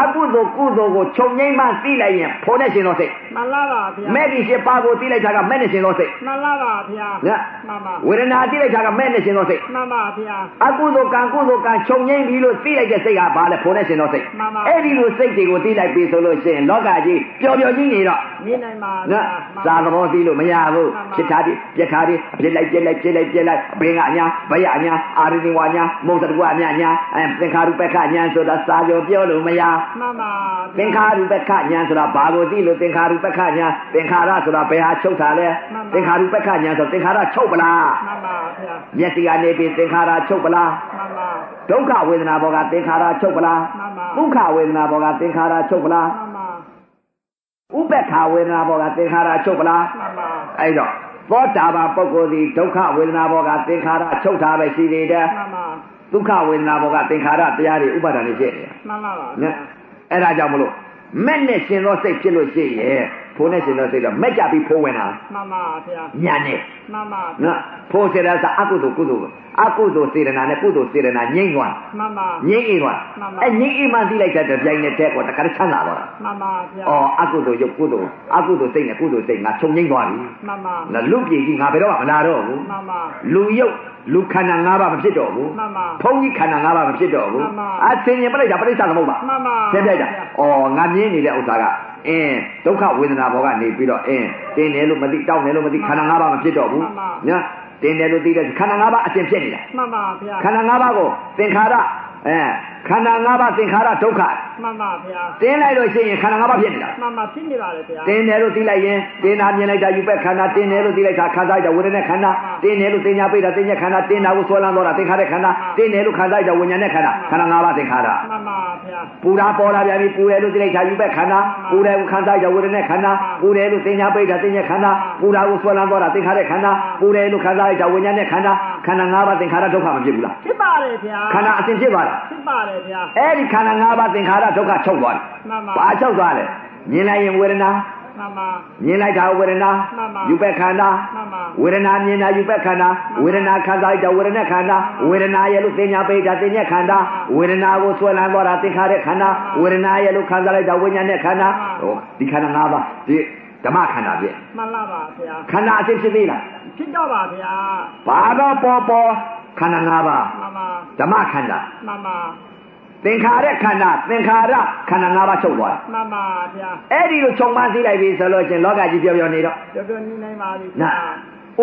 Speaker 1: အကုသိုလ်ကုသိုလ်ကိုခြုံငိမ့်မှသိလိုက်ရင်ဖို့နဲ့ရှင်သောစိတ်
Speaker 2: မှန်လားပါဖျား
Speaker 1: မဲ့ဒီရှင်ပါကိုသိလိုက်တာကမဲ့နဲ့ရှင်သောစိတ်
Speaker 2: မှန်လားပါဗျာ
Speaker 1: ည
Speaker 2: မှန်ပါ
Speaker 1: ဝေဒနာသိလိုက်တာကမဲ့နဲ့ရှင်သောစိတ်
Speaker 2: မှန်ပါဗျာ
Speaker 1: အကုသိုလ်ကံကုသိုလ်ကံခြုံငိမ့်ပြီလို့သိလိုက်တဲ့စိတ်ကဘာလဲဖို့နဲ့ရှင်တော့စိတ်
Speaker 2: မှန်ပါ
Speaker 1: အဲ့ဒီလိုစိတ်တွေကိုသိလိုက်ပြီဆိုလို့ရှိရင်လောကကြီးပျော်ပျော်ကြီးနေတော့
Speaker 2: နေနိုင်ပါ
Speaker 1: နော်
Speaker 2: ဗျာ
Speaker 1: သာသဘောသိလို့မရဘူး
Speaker 2: မှန်ပါ
Speaker 1: ဖြစ်တာဒီပြက်တာဒီအပြစ်လိုက်ပြက်လိုက်ပြက်လိုက်ပြက်လိုက်အဘိင်္ဂအညာဘယအညာအာရိနေဝအညာမုတ်တကွအညာအညာအဲသင်္ခါရုပ္ပခအညာဆိုတာစာပြောပြောလို့မရ
Speaker 2: မှန်ပါ
Speaker 1: သင်္ခါရုပ္ပခအညာဆိုတာဘာကိုသိလို့သင်္ခါရုပ္ပခအညာသင်္ခါရဆိုတာဘယ်ဟာချုပ်တာလဲသင်္ခါရုပ္ပခအညာဆိုသင်္ခါရချုပ်ပလား
Speaker 2: မှန်ပါဗျာ
Speaker 1: မျက်စိကနေပြီးသင်္ခါရချုပ်ပလား
Speaker 2: မှန်ပါ
Speaker 1: ဒုက္ခဝေဒနာဘောကသင်္ခါရချုပ်ပလား
Speaker 2: မှန်ပါ
Speaker 1: ဒုက္ခဝေဒနာဘောကသင်္ခါရချုပ်ပလား
Speaker 2: မှန်ပါ
Speaker 1: ဥပ္ပခာဝေဒနာဘောကသင်္ခါရချုပ်ပလား
Speaker 2: မှန်ပါ
Speaker 1: အဲ့တော့သောတာပန်ပုဂ္ဂိုလ်ဒီဒုက္ခဝေဒနာဘောကသင်္ခါရချုပ်တာပဲရှိသေးတယ်
Speaker 2: မှန်ပါ
Speaker 1: ဒုက္ခဝေဒနာဘောကသင်္ခါရတရားတွေဥပါဒဏ်တွေဖြစ်နေတယ်
Speaker 2: မှန်လားပါ
Speaker 1: နော်အဲ့ဒါကြောင့်မလို့မက်နဲ့ရှင်သောစိတ်ဖြစ်လို့ရှိရဲ့ဖိုးနဲ့ရှင်သောစိတ်တော့မက်ကြပြီးဖိုးဝင်တာ
Speaker 2: မှန်ပါဗျာ
Speaker 1: ညာနဲ့
Speaker 2: မှန်ပါ
Speaker 1: နော်ဖိုးစေတာကအကုသိုလ်ကုသိုလ်အကုသိုလ်စေတနာနဲ့ကုသိုလ်စေတနာငြိမ့်သွား
Speaker 2: မှန်ပါ
Speaker 1: ငြိမ့်အေးသွား
Speaker 2: မှန်ပါ
Speaker 1: အဲငြိမ့်အေးမှသိလိုက်တဲ့တစ်ပြိုင်နက်တည်းကတခါတည်းချမ်းသာသွားတာ
Speaker 2: မှန်ပါဗျာ
Speaker 1: အော်အကုသိုလ်ရုပ်ကုသိုလ်အကုသိုလ်စိတ်နဲ့ကုသိုလ်စိတ်ငါချုပ်ငြိမ့်သွားပြီ
Speaker 2: မှန်ပါ
Speaker 1: ငါလူပြည်ကြီးငါဘယ်တော့မှမလာတော့ဘူး
Speaker 2: မှန်ပါ
Speaker 1: လူရုပ်လူခန္ဓာ၅ပါးမဖြစ်တော့ဘူး
Speaker 2: မှန်ပါ
Speaker 1: ဖုံးကြီးခန္ဓာ၅ပါးမဖြစ်တော့ဘူး
Speaker 2: မှန်ပါ
Speaker 1: အသင်ရင်ပြလိုက်တာပြိဿသမုပ္ပါ
Speaker 2: မှန်ပါ
Speaker 1: သင်ပြလိုက်တာအော်ငါမြင်နေတဲ့ဥစ္စာကအင်းဒုက္ခဝေဒနာဘောကနေပြီးတော့အင်းတင်းတယ်လို့မသိတောက်တယ်လို့မသိခန္ဓာ၅ပါးမဖြစ်တော့ဘူးနော်တင်းတယ်လို့သိတဲ့ခန္ဓာ၅ပါးအသင်ဖြစ်နေတာ
Speaker 2: မှန်ပါဗျာ
Speaker 1: ခန္ဓာ၅ပါးကိုသင်္ခါရအဲခန္ဓာ၅ပါးသင်္ခါရဒုက္ခ
Speaker 2: မှန်ပါဗျာ
Speaker 1: တင်းလိုက်လို့ရှိရင်ခန္ဓာ၅ပါးဖြစ်နေတာ
Speaker 2: မှန်ပါဖြစ်နေပါလေဗျာ
Speaker 1: တင်းတယ်လို့သိလိုက်ရင်တင်းတာမြင်လိုက်တာယူပက်ခန္ဓာတင်းတယ်လို့သိလိုက်တာခံစားရတာဝေဒနာခန္ဓာတင်းတယ်လို့သိညာပိတ်တာသိညာခန္ဓာတင်းတာကိုဆွဲလန်းတော့တာသင်္ခါရခန္ဓာတင်းတယ်လို့ခံစားရတာဝิญညာနဲ့ခန္ဓာခန္ဓာ၅ပါးသင်္ခါရ
Speaker 2: မှန်ပါဗျာ
Speaker 1: ပူတာပေါ်လာပြန်ပြီပူတယ်လို့သိလိုက်တာယူပက်ခန္ဓာပူတယ်ကိုခံစားရတာဝေဒနာခန္ဓာပူတယ်လို့သိညာပိတ်တာသိညာခန္ဓာပူတာကိုဆွဲလန်းတော့တာသင်္ခါရခန္ဓာပူတယ်လို့ခံစားရတာဝิญညာနဲ့ခန္ဓာခန္ဓာ၅ပါးသင်္ခါရဒုက္ခမဖြစ်ဘူးလား
Speaker 2: ဖြစ်ပါလေဗျာ
Speaker 1: ခန္ဓာအစဉ်ဖြစ်သွားတာ
Speaker 2: ဖြစ်ပါလေဗျာ
Speaker 1: အဲ့ဒီခန္ဓာ၅ပါးသင်္ခါရဒုက္ခချုပ်သွားတယ်
Speaker 2: မှန်ပါ
Speaker 1: ။ဘာချုပ်သွားလဲ။မြင်လိုက်ရင်ဝေဒနာ
Speaker 2: မှန်ပါ
Speaker 1: မြင်လိုက်တာဝေဒနာ
Speaker 2: မှန်ပါ
Speaker 1: ယူပက်ခန္ဓာ
Speaker 2: မှန်ပါ
Speaker 1: ဝေဒနာမြင်တာယူပက်ခန္ဓာဝေဒနာခံစားရတာဝေဒနာခန္ဓာဝေဒနာရဲ့လို့သိညာပိတ်တာသိညာခန္ဓာဝေဒနာကိုဆွဲလန်းသွားတာသင်္ခါရခန္ဓာဝေဒနာရဲ့လို့ခံစားလိုက်တာဝိညာဉ်နဲ့ခန္ဓာ
Speaker 2: မှန်ပါ
Speaker 1: ဟောဒီခန္ဓာ၅ပါးဒီဓမ္မခန္ဓာဖြစ်
Speaker 2: မှန်လားပါဗျာ
Speaker 1: ခန္ဓာအစစ်ဖြစ်သေးလား
Speaker 2: ဖြစ်တော့ပါဗျာ
Speaker 1: ဘာတော့ပေါ်ပေါ်ခန္ဓာ၅ပါး
Speaker 2: မှန်ပါ
Speaker 1: ဓမ္မခန္ဓာ
Speaker 2: မှန်ပါ
Speaker 1: သင်္ခါရခန္ဓာသင်္ခါရခန္ဓာ၅ပါးချုပ်သွားတယ်
Speaker 2: မှန်ပါဗျာ
Speaker 1: အဲ့ဒီလိုခြုံမသိလိုက်ပြီဆိုလို့ချင်းလောကကြီးပြောပြောနေတော့
Speaker 2: တော်တော်နေနိုင်ပါပြီဗျာ
Speaker 1: နာ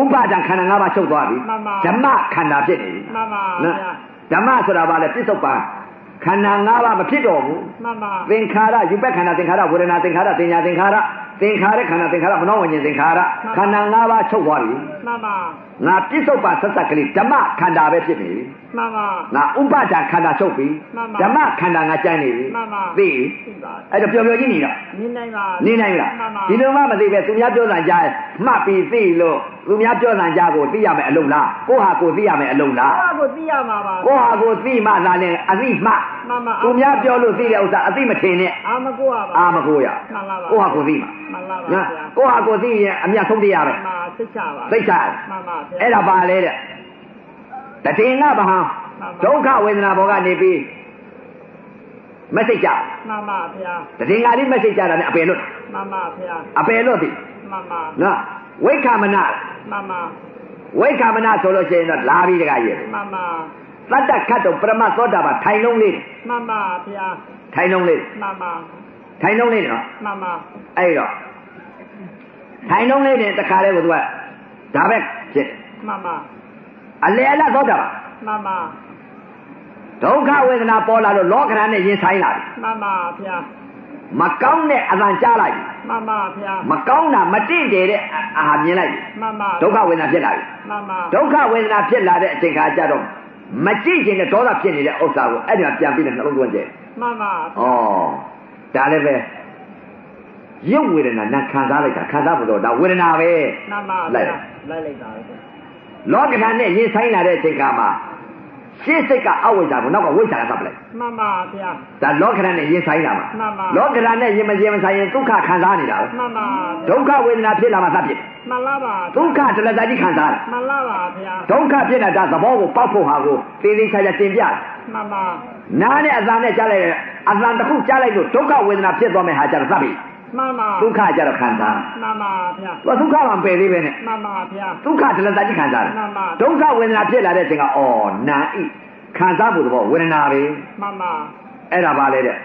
Speaker 1: ဥပါဒံခန္ဓာ၅ပါးချုပ်သွားပြီ
Speaker 2: မှန်ပါ
Speaker 1: ဓမ္မခန္ဓာဖြစ်နေပြီ
Speaker 2: မှန်ပါ
Speaker 1: နော်
Speaker 2: ဗျာ
Speaker 1: ဓမ္မဆိုတာဘာလဲပြစ္ဆုတ်ပန်ခန္ဓာ၅ပါးမဖြစ်တော့ဘူး
Speaker 2: မှန်ပါ
Speaker 1: သင်္ခါရယူပက်ခန္ဓာသင်္ခါရဝေဒနာသင်္ခါရသင်ညာသင်္ခါရသင်္ခါရခန္ဓာသင်္ခါရမနောဝิญဉ္သင်္ခါရခန္ဓာ၅ပါးချုပ်သွားပြီ
Speaker 2: မှန်ပါ
Speaker 1: ငါပြစ္ဆုတ်ပန်ဆက်ဆက်ကလေးဓမ္မခန္ဓာပဲဖြစ်နေပြီ
Speaker 2: မှန်ပါ
Speaker 1: ငါဥပါဒံခန္ဓာချုပ်ပြီ
Speaker 2: မှန်ပါ
Speaker 1: ဓမ္မခန္ဓာငါကျန်နေပြီ
Speaker 2: မှန်ပါ
Speaker 1: သိ
Speaker 2: ဖြစ်ပါ
Speaker 1: အဲ့တော့ပျော်ပျော်ကြီးနေတော့
Speaker 2: နေနိုင်ပါ
Speaker 1: နေ
Speaker 2: နေ
Speaker 1: နိုင်လား
Speaker 2: မှန်ပါ
Speaker 1: ဒီလိုမှမသိပဲသူများပြောတာကြားမှတ်ပြီးသိလို့သူများပြောတာကြားကိုသိရမယ်အလုံးလားကိုယ့်ဟာကိုယ်သိရမယ်အလုံးလား
Speaker 2: ဘာကိုသိရမှာပါ
Speaker 1: ကိုယ့်ဟာကိုယ်သိမှသာလဲအသိမှ
Speaker 2: မှန်ပါ
Speaker 1: သူများပြောလို့သိတဲ့ဥစ္စာအသိမထင်နဲ့
Speaker 2: အာမကိုရပါ
Speaker 1: အာမကိုရ
Speaker 2: မှန်လားပါ
Speaker 1: ကိုဟာကိုသိမှာ
Speaker 2: မှန်လားပါ
Speaker 1: ညာ
Speaker 2: ဗျာ
Speaker 1: ကိုဟာကိုသိရင်အမြတ်ဆုံးတရားပဲ
Speaker 2: မှန်ပါသိချပါ
Speaker 1: သိချရ
Speaker 2: မှန်ပါဗျာ
Speaker 1: အဲ့ဒါပါလေတဲ့တတိယငါဘာဟာ
Speaker 2: မှန်ပါ
Speaker 1: ဒုက္ခဝေဒနာဘောကနေပြီးမသိကြ
Speaker 2: မှန်ပါဗျာ
Speaker 1: တတိယငါလေးမသိကြတာနဲ့အပယ်လွတ်
Speaker 2: မှန်ပါဗျာ
Speaker 1: အပယ်လွတ်သည်
Speaker 2: မှန်ပါ
Speaker 1: နော်ဝိက္ခာမနာ
Speaker 2: မှန်ပါ
Speaker 1: ဝိက္ခာမနာဆိုလို့ရှိရင်တော့လာပြီးတကကြီး
Speaker 2: မှန်ပါ
Speaker 1: သတ္တခတ်တော့ပရမတ်သောတာပန်ထိုင်လုံးလေးတယ်
Speaker 2: မှန်ပါဗျာ
Speaker 1: ထိုင်လုံးလေးတယ်
Speaker 2: မှန်ပါ
Speaker 1: ထိုင်လုံးလေးတယ်နော်
Speaker 2: မှန်ပါ
Speaker 1: အဲ့တော့ထိုင်လုံးလေးနဲ့တခါလေးကိုသူကဒါပဲဖြစ်တယ်
Speaker 2: မှန်ပါ
Speaker 1: အလေအလတ်သောတာပါ
Speaker 2: မှန်ပါ
Speaker 1: ဒုက္ခဝေဒနာပေါ်လာလို့လောကဓာတ်နဲ့ရင်ဆိုင်လာပြီ
Speaker 2: မှန်ပါဗျာ
Speaker 1: မကောင်းတဲ့အတန်ကြားလိုက်ပြီ
Speaker 2: မှန်ပါဗျာ
Speaker 1: မကောင်းတာမတင့်တယ်တဲ့အာအာဟာမြင်လိုက်ပြီ
Speaker 2: မှန်ပါ
Speaker 1: ဒုက္ခဝေဒနာဖြစ်လာပြီ
Speaker 2: မှန်ပါ
Speaker 1: ဒုက္ခဝေဒနာဖြစ်လာတဲ့အချိန်ခါကျတော့မကြည့်ခြင်းနဲ့ဒေါသဖြစ်နေတဲ့ဥစ္စာကိုအဲ့ဒီမှာပြန်ပြီးတော့နှလုံးသွင်းကြည့်
Speaker 2: မှန်ပါ
Speaker 1: ဩဒါလည်းပဲရုပ်ဝေဒနာနဲ့ခံစားလိုက်တာခံစားဖို့တော့ဒါဝေဒနာပဲ
Speaker 2: မှန်ပါ
Speaker 1: လိုက်
Speaker 2: ဗျာလိုက်လိုက်တာပဲ
Speaker 1: လောကဓာတ်နဲ့ရင်ဆိုင်လာတဲ့အချိန်ကမှရှင်းစိတ်ကအဝိဇ္ဇာကိုနောက်ကဝိဇ္ဇာကသတ်ပလိုက်
Speaker 2: မှန်ပါဗျာ
Speaker 1: ဒါလောကဓာတ်နဲ့ရင်ဆိုင်လာမှာ
Speaker 2: မှန်ပါ
Speaker 1: လောကဓာတ်နဲ့ရင်မရင်မဆိုင်ရင်ဒုက္ခခံစားနေတာပဲ
Speaker 2: မှန်ပါ
Speaker 1: ဒုက္ခဝေဒနာဖြစ်လာမှသတ်ဖြစ်တယ်
Speaker 2: မှန်လားပါ
Speaker 1: ဒုက္ခတလတကြီးခံစားတယ်
Speaker 2: မှန်လားပါဗျာ
Speaker 1: ဒုက္ခဖြစ်တာဒါသဘောကိုပောက်ဖို့ဟာကိုသေသေးချာချာသင်ပြတယ်
Speaker 2: မှန်ပါ
Speaker 1: နားနဲ့အသံနဲ့ကြားလိုက်တယ်အသံတစ်ခုကြားလိုက်လို့ဒုက္ခဝေဒနာဖြစ်သွားမယ်ဟာကြတော့သတ်ပြီ
Speaker 2: မှန်ပါ
Speaker 1: ဒုက္ခကြတော့ခံစားတယ်
Speaker 2: မှန်ပါဗျာ
Speaker 1: သူကဒုက္ခမှမပယ်သေးပဲနဲ့
Speaker 2: မှန်ပါဗျာ
Speaker 1: ဒုက္ခတလတကြီးခံစားတယ်
Speaker 2: မှန်ပါ
Speaker 1: ဒုက္ခဝေဒနာဖြစ်လာတဲ့အချိန်ကအော်နာဤခံစားဖို့သဘောဝေဒနာပဲ
Speaker 2: မှန်ပါ
Speaker 1: အဲ့ဒါပါလေတဲ့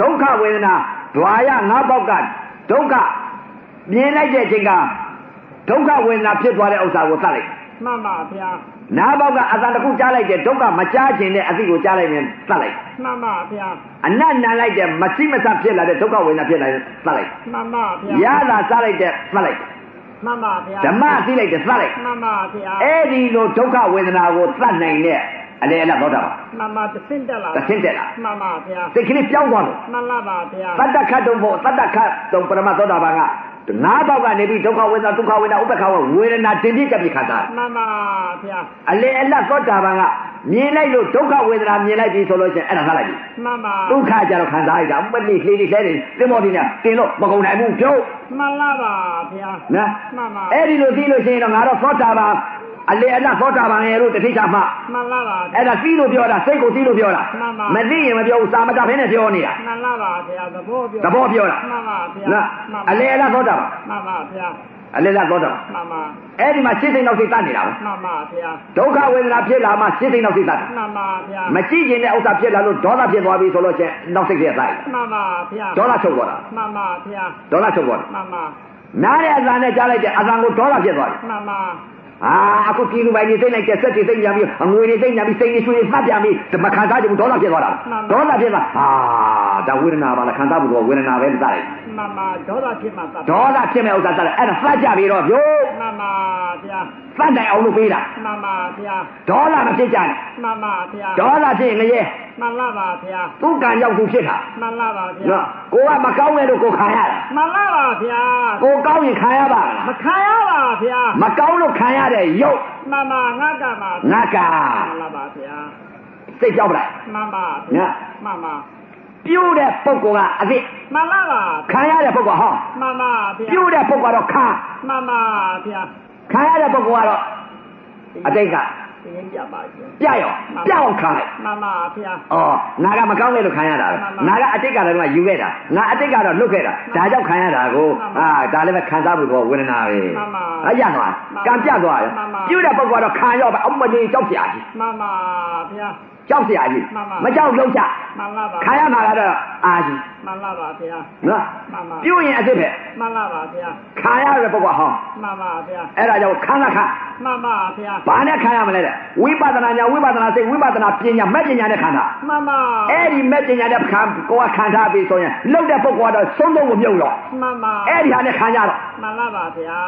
Speaker 1: ဒုက္ခဝေဒနာဒွာရငါးပေါက်ကဒုက္ခမြင်လိုက်တဲ့အချိန်ကဒုက္ခဝေဒနာဖြစ်သွားတဲ့ဥစ္စာကိုသတ်လိုက်
Speaker 2: မှန်ပါဗျာ
Speaker 1: နားပေါက်ကအသံတစ်ခုကြားလိုက်တဲ့ဒုက္ခမကြားခြင်းနဲ့အသိကိုကြားလိုက်ရင်သတ်လိုက်
Speaker 2: မှန်ပါဗျာ
Speaker 1: အနတ်နာလိုက်တဲ့မရှိမဆဖြစ်လာတဲ့ဒုက္ခဝေဒနာဖြစ်လာရင်သတ်လိုက်
Speaker 2: မှန်ပါဗျာ
Speaker 1: ရတာစားလိုက်တဲ့သတ်လိုက်
Speaker 2: မှန်ပါဗျာ
Speaker 1: ဓမ္မသိလိုက်တဲ့သတ်လိုက်
Speaker 2: မှန်ပါဗျာ
Speaker 1: အဲ့ဒီလိုဒုက္ခဝေဒနာကိုသတ်နိုင်တဲ့အလေအလတ်သောတာပါ
Speaker 2: မှန်ပါသင့်တက်လာ
Speaker 1: သခင်တက်လာ
Speaker 2: မှန်ပါဗျာ
Speaker 1: စိတ်ကလေးပြောင်းသွားလို့
Speaker 2: မှန်လားပါဗျာ
Speaker 1: သတ္တခတ်တုံဖို့သတ္တခတ်တုံပရမသောတာပန်ကငါးပေါက်ကနေပြီးဒုက္ခဝေဒနာဒုက္ခဝေဒနာဥပ္ပခါဝဝေဒနာတင်ပြကြပြီခါတာ
Speaker 2: မှန်ပါဗျာ
Speaker 1: အလေအလတ်သောတာပန်ကမြင်လိုက်လို့ဒုက္ခဝေဒနာမြင်လိုက်ပြီဆိုလို့ချင်းအဲ့ဒါသတ်လိုက်ပြီ
Speaker 2: မှန်ပါ
Speaker 1: ဒုက္ခကြတော့ခံစားရတာဥပတိလေးလေးလဲတယ်သင်္ဘောဒီနာတင်လို့မကုန်နိုင်ဘူးပြုတ်
Speaker 2: မှန်လားပါဗျာ
Speaker 1: နော်
Speaker 2: မှန်ပါ
Speaker 1: အဲ့ဒီလိုသိလို့ရှိရင်တော့ငါတော့သောတာပန်အလေအလတ်သောတာပန်ရဲ့လို့တတိယမှ
Speaker 2: မှန်လားပါ
Speaker 1: အဲ့ဒါသိလို့ပြောတာစိတ်ကိုသိလို့ပြောတာ
Speaker 2: မှန်ပါ
Speaker 1: မသိရင်မပြောဘူးသာမတဘဲနဲ့ပြောနေတာ
Speaker 2: မှန်လားပါဗျာသဘောပြော
Speaker 1: သဘောပြောတာ
Speaker 2: မှန်ပါဗျာ
Speaker 1: နော်
Speaker 2: မှန်
Speaker 1: အ
Speaker 2: ပါ
Speaker 1: လေအလတ်သောတာပန်
Speaker 2: မှန်ပါဗျာ
Speaker 1: အလေအလတ်သောတာပန်
Speaker 2: မှန်ပါ
Speaker 1: အဲ့ဒီမှာရှင်းသိမ့်နောက်သိတတ်နေတာပဲ
Speaker 2: မှန်ပါဗျာ
Speaker 1: ဒုက္ခဝေဒနာဖြစ်လာမှရှင်းသိမ့်နောက်သိတတ်တာ
Speaker 2: မှန်ပါဗျာ
Speaker 1: မကြည့်ခြင်းတဲ့ဥစ္စာဖြစ်လာလို့ဒေါသဖြစ်သွားပြီဆိုလို့ချင်းနောက်သိတဲ့ဆိုင်
Speaker 2: မှန်ပါဗျာ
Speaker 1: ဒေါသချုပ်သွားတာ
Speaker 2: မှန်ပါဗျာ
Speaker 1: ဒေါသချုပ်သွားတာ
Speaker 2: မှန်ပါ
Speaker 1: နားတဲ့အသံနဲ့ကြားလိုက်တဲ့အသံကိုဒေါသဖြစ်သွားတယ်
Speaker 2: မှန်ပါ
Speaker 1: ဟာအခုပြည်သူပိုင်းတွေသိမ့်လိုက်တဲ့စက်တွေသိမ့်ပြန်ပြီးအငွေတွေသိမ့်ပြန်ပြီးစိတ်တွေချွေတွေသတ်ပြန်ပြီးဒီမခံစားချင်ဘူးဒေါသဖြစ်သွားတာဒေါသဖြစ်သွားဟာဒါဝေဒနာပါလားခံစားဖို့တော့ဝေဒနာပဲသတ်လိုက်
Speaker 2: မှန်ပါဒေါသဖြစ်မှသာ
Speaker 1: ဒေါသဖြစ်မဲ့ဥစ္စာသတ်လိုက်အဲ့ဒါသတ်ကြပြီးတော့ပြော
Speaker 2: မှန်ပါဗျာ
Speaker 1: သတ်နိုင်အောင်လုပ်ပေးတာ
Speaker 2: မှန်ပါဗျာ
Speaker 1: ဒေါသမဖြစ်ကြနဲ့
Speaker 2: မှန်ပါဗျာ
Speaker 1: ဒေါသဖြစ်ရင်ငရဲ
Speaker 2: မှန်လားပါဗျာ
Speaker 1: သူ့ကံရောက်သူဖြစ်တာ
Speaker 2: မှန်လားပါဗျာ
Speaker 1: နော်ကိုကမကောင်းတဲ့လို့ကိုခံရတာ
Speaker 2: မှန်လားပါဗျာ
Speaker 1: ကိုကောင်းရင်ခံရပါလား
Speaker 2: မခံရပါဗျာ
Speaker 1: မကောင်းလို့ခံရတဲ့ရုပ်
Speaker 2: မှန်ပါငါကမှာ
Speaker 1: ငါက
Speaker 2: မှန်လားပါဗျာ
Speaker 1: စိတ်ကြောက်လိုက်
Speaker 2: မှန်ပါဗျာ
Speaker 1: နော်
Speaker 2: မှန်ပါ
Speaker 1: ပြိုးတဲ့ပုဂ္ဂိုလ်ကအစ်စ်
Speaker 2: မှန်လားပါ
Speaker 1: ခံရတဲ့ပုဂ္ဂိုလ်ဟော
Speaker 2: မှန်ပါဗျာ
Speaker 1: ပြိုးတဲ့ပုဂ္ဂိုလ်ကတော့ခံ
Speaker 2: မှန်ပါဗျာ
Speaker 1: ခံရတဲ့ပုဂ္ဂိုလ်ကတော့အတိတ်က
Speaker 2: သင်ပြပါဗျာ
Speaker 1: ပြက်ရောပြက်အောင်ခံလိုက်
Speaker 2: မှန်ပါဗျာ
Speaker 1: ဩငါကမကောင်းလေလို့ခံရတာပဲ
Speaker 2: မှန်
Speaker 1: ငါ
Speaker 2: ပါ
Speaker 1: ကအတိတ်ကတော့ယူခဲ့တာငါအတိတ်ကတော့လွတ်ခဲ့တာဒါကြောင့်ခံရတာကို
Speaker 2: မှ
Speaker 1: အာ
Speaker 2: န်ပါ
Speaker 1: ဒါလည်းပဲခံစားဖို့ပေါ်ဝေဒနာပဲ
Speaker 2: မှန်ပါ
Speaker 1: အဲ့ရသွားကံပြတ်သွားရော
Speaker 2: မှန်ပါ
Speaker 1: ပြိုးတဲ့ပုဂ္ဂိုလ်ကတော့ခံရောပဲအမလီကြောက်ကြရကြီး
Speaker 2: မှန်ပါဗျာ
Speaker 1: ကြောက်เสียကြီး
Speaker 2: မှန်ပါ
Speaker 1: မကြောက်လုံးချ
Speaker 2: မှန်လားပါ
Speaker 1: ခါရမှာကတော့အာကြီး
Speaker 2: မှန်လားပါဗျာ
Speaker 1: နော်
Speaker 2: မှန်ပါ
Speaker 1: ပြုတ်ရင်အစ်စ်ပဲ
Speaker 2: မှန်လားပါဗျာ
Speaker 1: ခါရရပုဂ္ဂိုလ်ဟောင်း
Speaker 2: မှန်ပါဗျာ
Speaker 1: အဲ့ဒါကြောင့်ခန္ဓာခါ
Speaker 2: မှန်ပါဗျာ
Speaker 1: ဘာနဲ့ခါရမလဲတဲ့ဝိပဿနာညာဝိပဿနာစိတ်ဝိပဿနာပညာမဲ့ပညာနဲ့ခန္ဓာ
Speaker 2: မှန်ပါ
Speaker 1: အဲ့ဒီမဲ့ပညာနဲ့ခန္ဓာကိုယ်ကခန္ဓာပြီဆိုရင်လှုပ်တဲ့ပုဂ္ဂိုလ်ကတော့သုံးသုံးကိုမြုပ်တော့
Speaker 2: မှန်ပါ
Speaker 1: အဲ့ဒီဟာနဲ့ခါရတော့
Speaker 2: မ မှန်လားပါဗျာ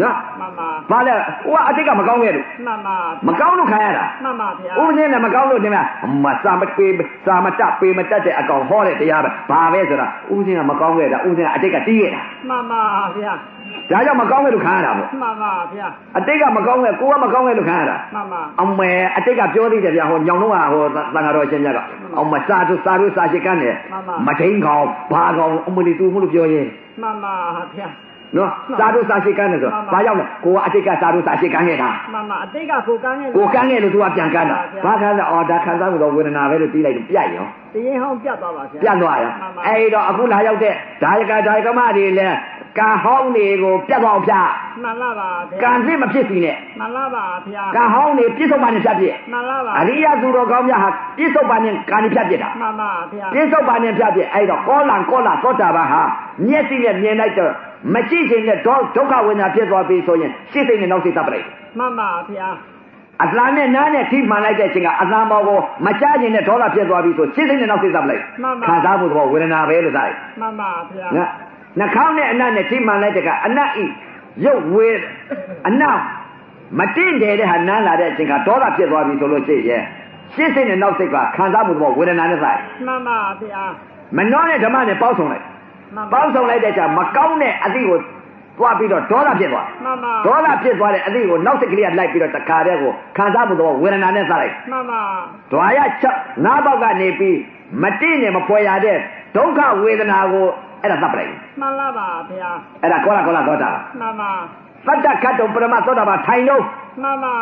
Speaker 1: နော်
Speaker 2: မှန်ပါ
Speaker 1: ဘာလဲဟိုကအတိတ်ကမကောင်းခဲ့လို့
Speaker 2: မှန်ပါ
Speaker 1: မကောင်းလို့ခံရတာ
Speaker 2: မှန်ပါဗျာ
Speaker 1: ဥပဒေနဲ့မကောင်းလို့တင်မလားမစာမပေးစာမတပေးမတတ်တဲ့အကောင်ဟောတဲ့တရားပဲဘာပဲဆိုတာဥပဒေကမကောင်းခဲ့တာဥပဒေကအတိတ်ကတီးရတာ
Speaker 2: မှန်ပါဗျာ
Speaker 1: ဒါကြောင့်မကောင်းခဲ့လို့ခံရတာပေါ့
Speaker 2: မှန်ပါဗျာ
Speaker 1: အတိတ်ကမကောင်းခဲ့ကိုယ်ကမကောင်းခဲ့လို့ခံရတာ
Speaker 2: မှန်ပါ
Speaker 1: အမေအတိတ်ကပြောသေးတယ်ဗျာဟိုညောင်တော့ကဟိုသံဃာတော်ရှင်မြတ်ကအမစာသူစာသူစာရှိကန်းနဲ့မထိန်ကောင်ဘာကောင်အမလီသူမှုလို့ပြောရင်
Speaker 2: မှန်ပါဗျာ
Speaker 1: နော်စာသူစာရှိကန်းနဲ့ဆိုဘာရောက်လဲကိုကအတိတ်ကစာသူစာရှိကန်းခဲ့တာ
Speaker 2: မှန်ပါအတိတ်ကကိုကန်းရဲ့
Speaker 1: ကိုကန်းခဲ့လို့သူကပြန်ကန်းတာဘာခံလဲအော်ဒါခံစားမှုတော့ဝေဒနာပဲလို့ပြီးလိုက်ပြတ်ရော
Speaker 2: တရင်ဟောင်းပြတ်သွားပါဗျာ
Speaker 1: ပြတ်သွားရောအဲ့တော့အခုလာရောက်တဲ့ဒါယကဒါယကမတွေလဲကံဟောင်းတွေကိုပြတ်သွားအောင်ဖြတ်
Speaker 2: မှန်လားပါဗျာ
Speaker 1: ကံသိမဖြစ်စီနဲ့
Speaker 2: မှန်လားပါဗျာ
Speaker 1: ကံဟောင်းတွေပြစ်ဆုံးပါနဲ့ဖြတ်ပြစ်
Speaker 2: မှန်လားပါ
Speaker 1: အရိယသူတော်ကောင်းများဟာပြစ်ဆုံးပါနဲ့ကံဖြတ်ပြစ်တာ
Speaker 2: မှန်ပါဗျာ
Speaker 1: ပြစ္ဆုတ်ပါနဲ့ဖြတ်ပြအဲ့တော့ကောလံကောလာသောတာပန်ဟာမျက်စိနဲ့မြင်လိုက်တော့မရှိခြင်းနဲ့ဒေါဒုက္ခဝေဒနာဖြစ်သွားပြီဆိုရင်ရှစ်စိတ်နဲ့နောက်စိတ်တပ်ပလိုက်တယ်
Speaker 2: မှန်ပါဗျာ
Speaker 1: အသံနဲ့နားနဲ့ထိမှန်လိုက်တဲ့အချိန်ကအသံပေါ်ကိုမကြားခြင်းနဲ့ဒေါသဖြစ်သွားပြီဆိုရှစ်စိတ်နဲ့နောက်စိတ်တပ်ပလိုက်ခံစားမှုသဘောဝေဒနာပဲလို့သာတယ်
Speaker 2: မှန်ပါဗျာ
Speaker 1: နာနှာခေါင်းနဲ့အနတ်နဲ့ထိမှန်လိုက်တဲ့ကအနတ်ဤရုပ်ဝေအနတ်မတင့်တယ်တဲ့ဟာနားလာတဲ့အချိန်ကဒေါသဖြစ်သွားပြီဆိုလို့ရှိရင်ရှစ်စိတ်နဲ့နောက်စိတ်ကခံစားမှုသဘောဝေဒနာနဲ့သာတယ်
Speaker 2: မှန်ပါဗျာ
Speaker 1: မနှောနဲ့ဓမ္မနဲ့ပေါင်းစုံလိုက်
Speaker 2: မှန်ပါ
Speaker 1: ပေါင်းဆောင်လိုက်တဲ့ကြာမကောင်းတဲ့အသည့်ကိုသွားပြီးတော့ဒေါသဖြစ်သွား
Speaker 2: မှန်ပါ
Speaker 1: ဒေါသဖြစ်သွားတဲ့အသည့်ကိုနောက်စိတ်ကလေးကလိုက်ပြီးတော့တခါတည်းကိုခံစားမှုတော့ဝေဒနာနဲ့စားလိုက်
Speaker 2: မှန်ပါ
Speaker 1: ဒွါရချက်နားပေါက်ကနေပြီးမတိနဲ့မဖွယ်ရတဲ့ဒုက္ခဝေဒနာကိုအဲ့ဒါသတ်ပလိုက်
Speaker 2: မှန်လားပါဗျာ
Speaker 1: အဲ့ဒါကောလာကောလာဒေါသ
Speaker 2: မှန်ပါ
Speaker 1: သတ္တခတ်တုံပရမသောတာပါထိုင်တော့
Speaker 2: မှန်ပါ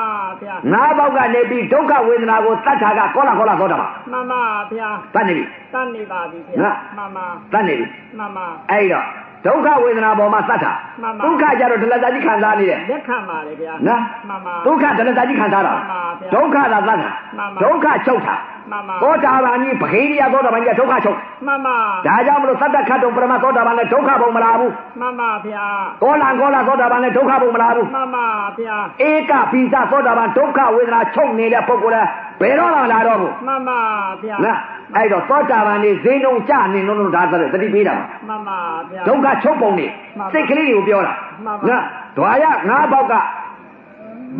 Speaker 2: ဗျာ
Speaker 1: နားပေါက်ကနေပြီးဒုက္ခဝေဒနာကိုသတ်တာကကောလာကောလာသောတာပါ
Speaker 2: မှန်ပါဗျာ
Speaker 1: သတ်နေပြီ
Speaker 2: တတ်နေပါပြီဗျာမှန်ပါ
Speaker 1: သတ်နေပြီ
Speaker 2: မှန်ပါ
Speaker 1: အဲ့တော့ဒုက္ခဝေဒနာပေါ်မှာသတ်တာ
Speaker 2: မှန်ပါ
Speaker 1: ဒုက္ခကြတော့ဒလတကြီးခံစားနေတယ်
Speaker 2: လက်ခံပါလေဗျာ
Speaker 1: နော်
Speaker 2: မှန်ပါ
Speaker 1: ဒုက္ခတဏ္ဍာကြီးခံစားတာ
Speaker 2: မှန်ပါဗျာ
Speaker 1: ဒုက္ခသာသတ်တာ
Speaker 2: မှန်ပါ
Speaker 1: ဒုက္ခချုပ်တာ
Speaker 2: မှန်ပါ
Speaker 1: သောတာပန်ကြီးဗဟိရိယသောတာပန်ကြီးကဒုက္ခချုပ်
Speaker 2: မှန်
Speaker 1: ဒါ
Speaker 2: ပါ
Speaker 1: ကြောင့်မလို့သတ္တခတ်တုံပရမသောတာပန်လည်းဒုက္ခဘုံမလာဘူး
Speaker 2: မှန်ပါဗျာ
Speaker 1: ကောလံကောလသောတာပန်လည်းဒုက္ခဘုံမလာဘူး
Speaker 2: မှန်ပါဗျာ
Speaker 1: ဧကပိသသောတာပန်ဒုက္ခဝေဒနာချုပ်နေတဲ့ပုဂ္ဂိုလ်လည်းဘယ်တော့မှမလာတော့ဘူး
Speaker 2: မှန်ပါဗျာ
Speaker 1: နော်အဲ့တော့သောတာပန်နေဈေးနှုံကြနေလို့လို့ဒါဆိုတော့သတိပေးတာပါ
Speaker 2: မှန်ပါဗျာ
Speaker 1: ဒုက္ခချုပ်ပုံနေ
Speaker 2: မှန်ပါ
Speaker 1: စိတ်ကလေးတွေကိုပြောတာ
Speaker 2: မှန်ပါ
Speaker 1: ဒွါရငါးပေါက်က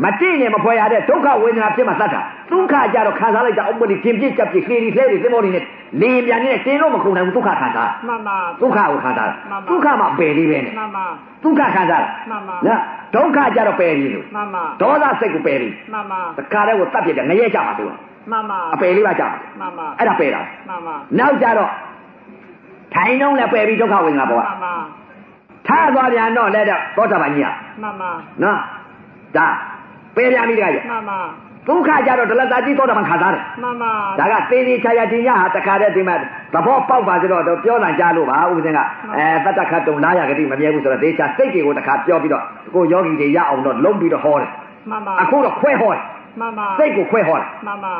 Speaker 1: မတိနဲ့မဖွဲရတဲ့ဒုက္ခဝေဒနာဖြစ်မှသတ်တာဒုက္ခကြတော့ခံစားလိုက်တာဥပ္ပဒိကျင်ပြစ်ကြပ်ပြစ်ခလေးတွေဆဲတွေသင်္ဘောတွေနဲ့လေပြန်နေတဲ့တင်းတော့မကုန်နိုင်ဘူးဒုက္ခခံစား
Speaker 2: မှန်ပါ
Speaker 1: ဒုက္ခကိုခံစားတာဒုက္ခမှာပယ်လေးပဲနဲ့
Speaker 2: မှန်ပါ
Speaker 1: ဒုက္ခခံစား
Speaker 2: မှန်ပါ
Speaker 1: တာနော်ဒုက္ခကြတော့ပယ်လေးလို့
Speaker 2: မှန်ပါ
Speaker 1: ဒေါသစိတ်ကိုပယ်လေး
Speaker 2: မှန်ပါ
Speaker 1: တခါတည်းကိုတတ်ပြစ်တယ်ငရဲကြမှာသူက
Speaker 2: မှန်ပါ
Speaker 1: အပယ်လေးပါကြမှာ
Speaker 2: မှန်ပါ
Speaker 1: အဲ့ဒါပယ်တာ
Speaker 2: မှန်ပါ
Speaker 1: နောက်ကြတော့ထိုင်နှုံးလည်းပယ်ပြီးဒုက္ခဝေဒနာပေါ်က
Speaker 2: မှန်ပါ
Speaker 1: ထားသွားပြန်တော့လဲတော့သောတာပန်ကြီးอ่ะ
Speaker 2: မှန်ပါ
Speaker 1: နော်ဒါပယ်ပြန်ပြီတခါကြီး
Speaker 2: မှန်ပါ
Speaker 1: ဒုက္ခကြတော့ဒလတကြီးသောတာပန်ခါသားတယ်
Speaker 2: မှန်ပါ
Speaker 1: ဒါကသေသေးချာချာတင်ရဟာတခါတည်းဒီမှာသဘောပေါက်ပါစေတော့တော့ပြောနိုင်ကြလို့ပါဦးစင်ကအဲတတ္တခတ်တုံလာရကတိမမြဲဘူးဆိုတော့သေချာစိတ်တွေကိုတခါပြောပြီးတော့ကိုယောဂီတွေရအောင်တော့လုံးပြီးတော့ဟောတယ်
Speaker 2: မှန်ပါ
Speaker 1: အခုတော့ခွဲဟောတယ်
Speaker 2: မှန်ပါ
Speaker 1: စိတ်ကိုခွဲဟောတယ်
Speaker 2: မှန်ပါ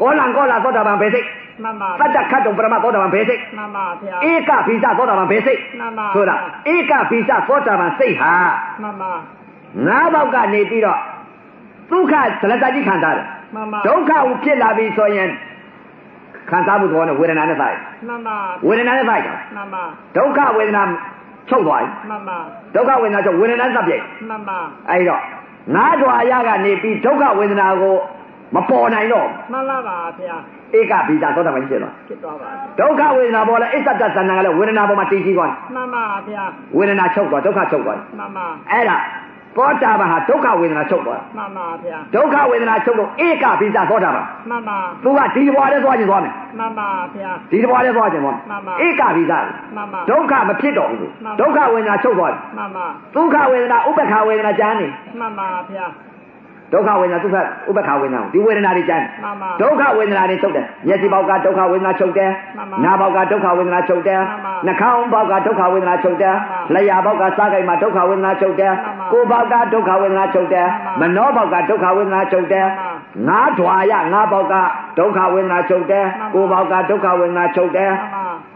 Speaker 1: ကောလံကောလာသောတာပန်ဘယ်စိတ်
Speaker 2: မှန်ပါ
Speaker 1: တတ္တခတ်တုံပရမသောတာပန်ဘယ်စိတ်
Speaker 2: မှန်ပါဗျာ
Speaker 1: ဧကပိစသောတာပန်ဘယ်စိတ်
Speaker 2: မှန်ပါ
Speaker 1: ဆိုတာဧကပိစသောတာပန်စိတ်ဟာ
Speaker 2: မှန်ပါ
Speaker 1: ငါးပေါက်ကနေပြီးတော့ဒုက္ခဇလတကြီးခံစားတယ်
Speaker 2: မှန်ပါ
Speaker 1: ဒုက္ခကိုဖြစ်လာပြီဆိုရင်ခံစားမှုသဘောနဲ့ဝေဒနာနဲ့ဆိုင်
Speaker 2: မှန်ပါ
Speaker 1: ဝေဒနာနဲ့ဆိုင်ကြ
Speaker 2: မှန်ပါ
Speaker 1: ဒုက္ခဝေဒနာချုပ်သွားပြီ
Speaker 2: မှန်ပါ
Speaker 1: ဒုက္ခဝေဒနာချုပ်ဝေဒနာသတ်ပြိုင်
Speaker 2: မှန်ပါ
Speaker 1: အဲဒီတော့ငါးဓွာရကနေပြီးဒုက္ခဝေဒနာကိုမပေါ်နိုင်တော့
Speaker 2: မှန်လားပါဗျာ
Speaker 1: ဧကပိတာသောတာပန်ကြီးဖြစ်သွား
Speaker 2: ဖြစ်သွားပါပြီ
Speaker 1: ဒုက္ခဝေဒနာပေါ်လဲအစ္စတသဏ္ဍာန်ကလည်းဝေဒနာပေါ်မှာတည်ကြည်သွား
Speaker 2: မှန်ပါဗျာ
Speaker 1: ဝေဒနာချုပ်သွားဒုက္ခချုပ်သွား
Speaker 2: မှန်ပါ
Speaker 1: အဲ့ဒါသောတာပန်ဟာဒုက္ခဝေဒနာချုပ်သွား
Speaker 2: မှန်ပါဗျာ
Speaker 1: ဒုက္ခဝေဒနာချုပ်လို့ဧကပိတာသောတာပန်
Speaker 2: မှန်ပါ
Speaker 1: သူကဒီဘွားထဲသွားခြင်းသွားမယ်
Speaker 2: မှန်ပါဗျာ
Speaker 1: ဒီဘွားထဲသွားခြင်းသွား
Speaker 2: မှန်ပါ
Speaker 1: ဧကပိသ
Speaker 2: မှန်ပါ
Speaker 1: ဒုက္ခမဖြစ်တော့ဘူးဒုက္ခဝေဒနာချုပ်သွားပြီ
Speaker 2: မှန်ပါ
Speaker 1: ဒုက္ခဝေဒနာဥပ္ပခာဝေဒနာကြမ်းနေ
Speaker 2: မှန်ပါဗျာ
Speaker 1: ဒုက္ခဝေဒနာသူကဥပ္ပခာဝေဒနာကိုဒီဝေဒနာတွေကြမ်း
Speaker 2: မှန်ပါ
Speaker 1: ဒုက္ခဝေဒနာတွေချုပ်တယ်မျက်စိပေါက်ကဒုက္ခဝေဒနာချုပ်တယ်
Speaker 2: မှန်ပါ
Speaker 1: နားပေါက်ကဒုက္ခဝေဒနာချုပ်တယ်
Speaker 2: မှန်ပါ
Speaker 1: နှာခေါင်းပေါက်ကဒုက္ခဝေဒနာချုပ်တယ်
Speaker 2: မှန်
Speaker 1: လျှာပေါက်ကစားကိုက်မှာဒုက္ခဝေဒနာချုပ်တယ်
Speaker 2: မှန်ပါ
Speaker 1: ကိုယ်ပေါက်ကဒုက္ခဝေဒနာချုပ်တယ်
Speaker 2: မှ
Speaker 1: မ
Speaker 2: န်ပါ
Speaker 1: နောပေါက်ကဒုက္ခဝေဒနာချုပ်တယ်
Speaker 2: မှန်ပါ
Speaker 1: ငါးဓွာရငါးပေါက်ကဒုက္ခဝေဒနာချုပ်တယ်ကိုယ်ပေါက်ကဒုက္ခဝေဒနာချုပ်တယ်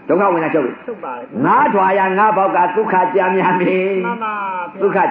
Speaker 2: မှန်
Speaker 1: ဒု
Speaker 2: ပါ
Speaker 1: က္ခဝင်တာချုပ်လို့
Speaker 2: ထုတ်ပါလေ嗯
Speaker 1: ငါးဓွာရငါးဘောက်ကဒုက္ခကြာများပြီ
Speaker 2: မှန်ပါဗျာ
Speaker 1: ဒုက္ခကြ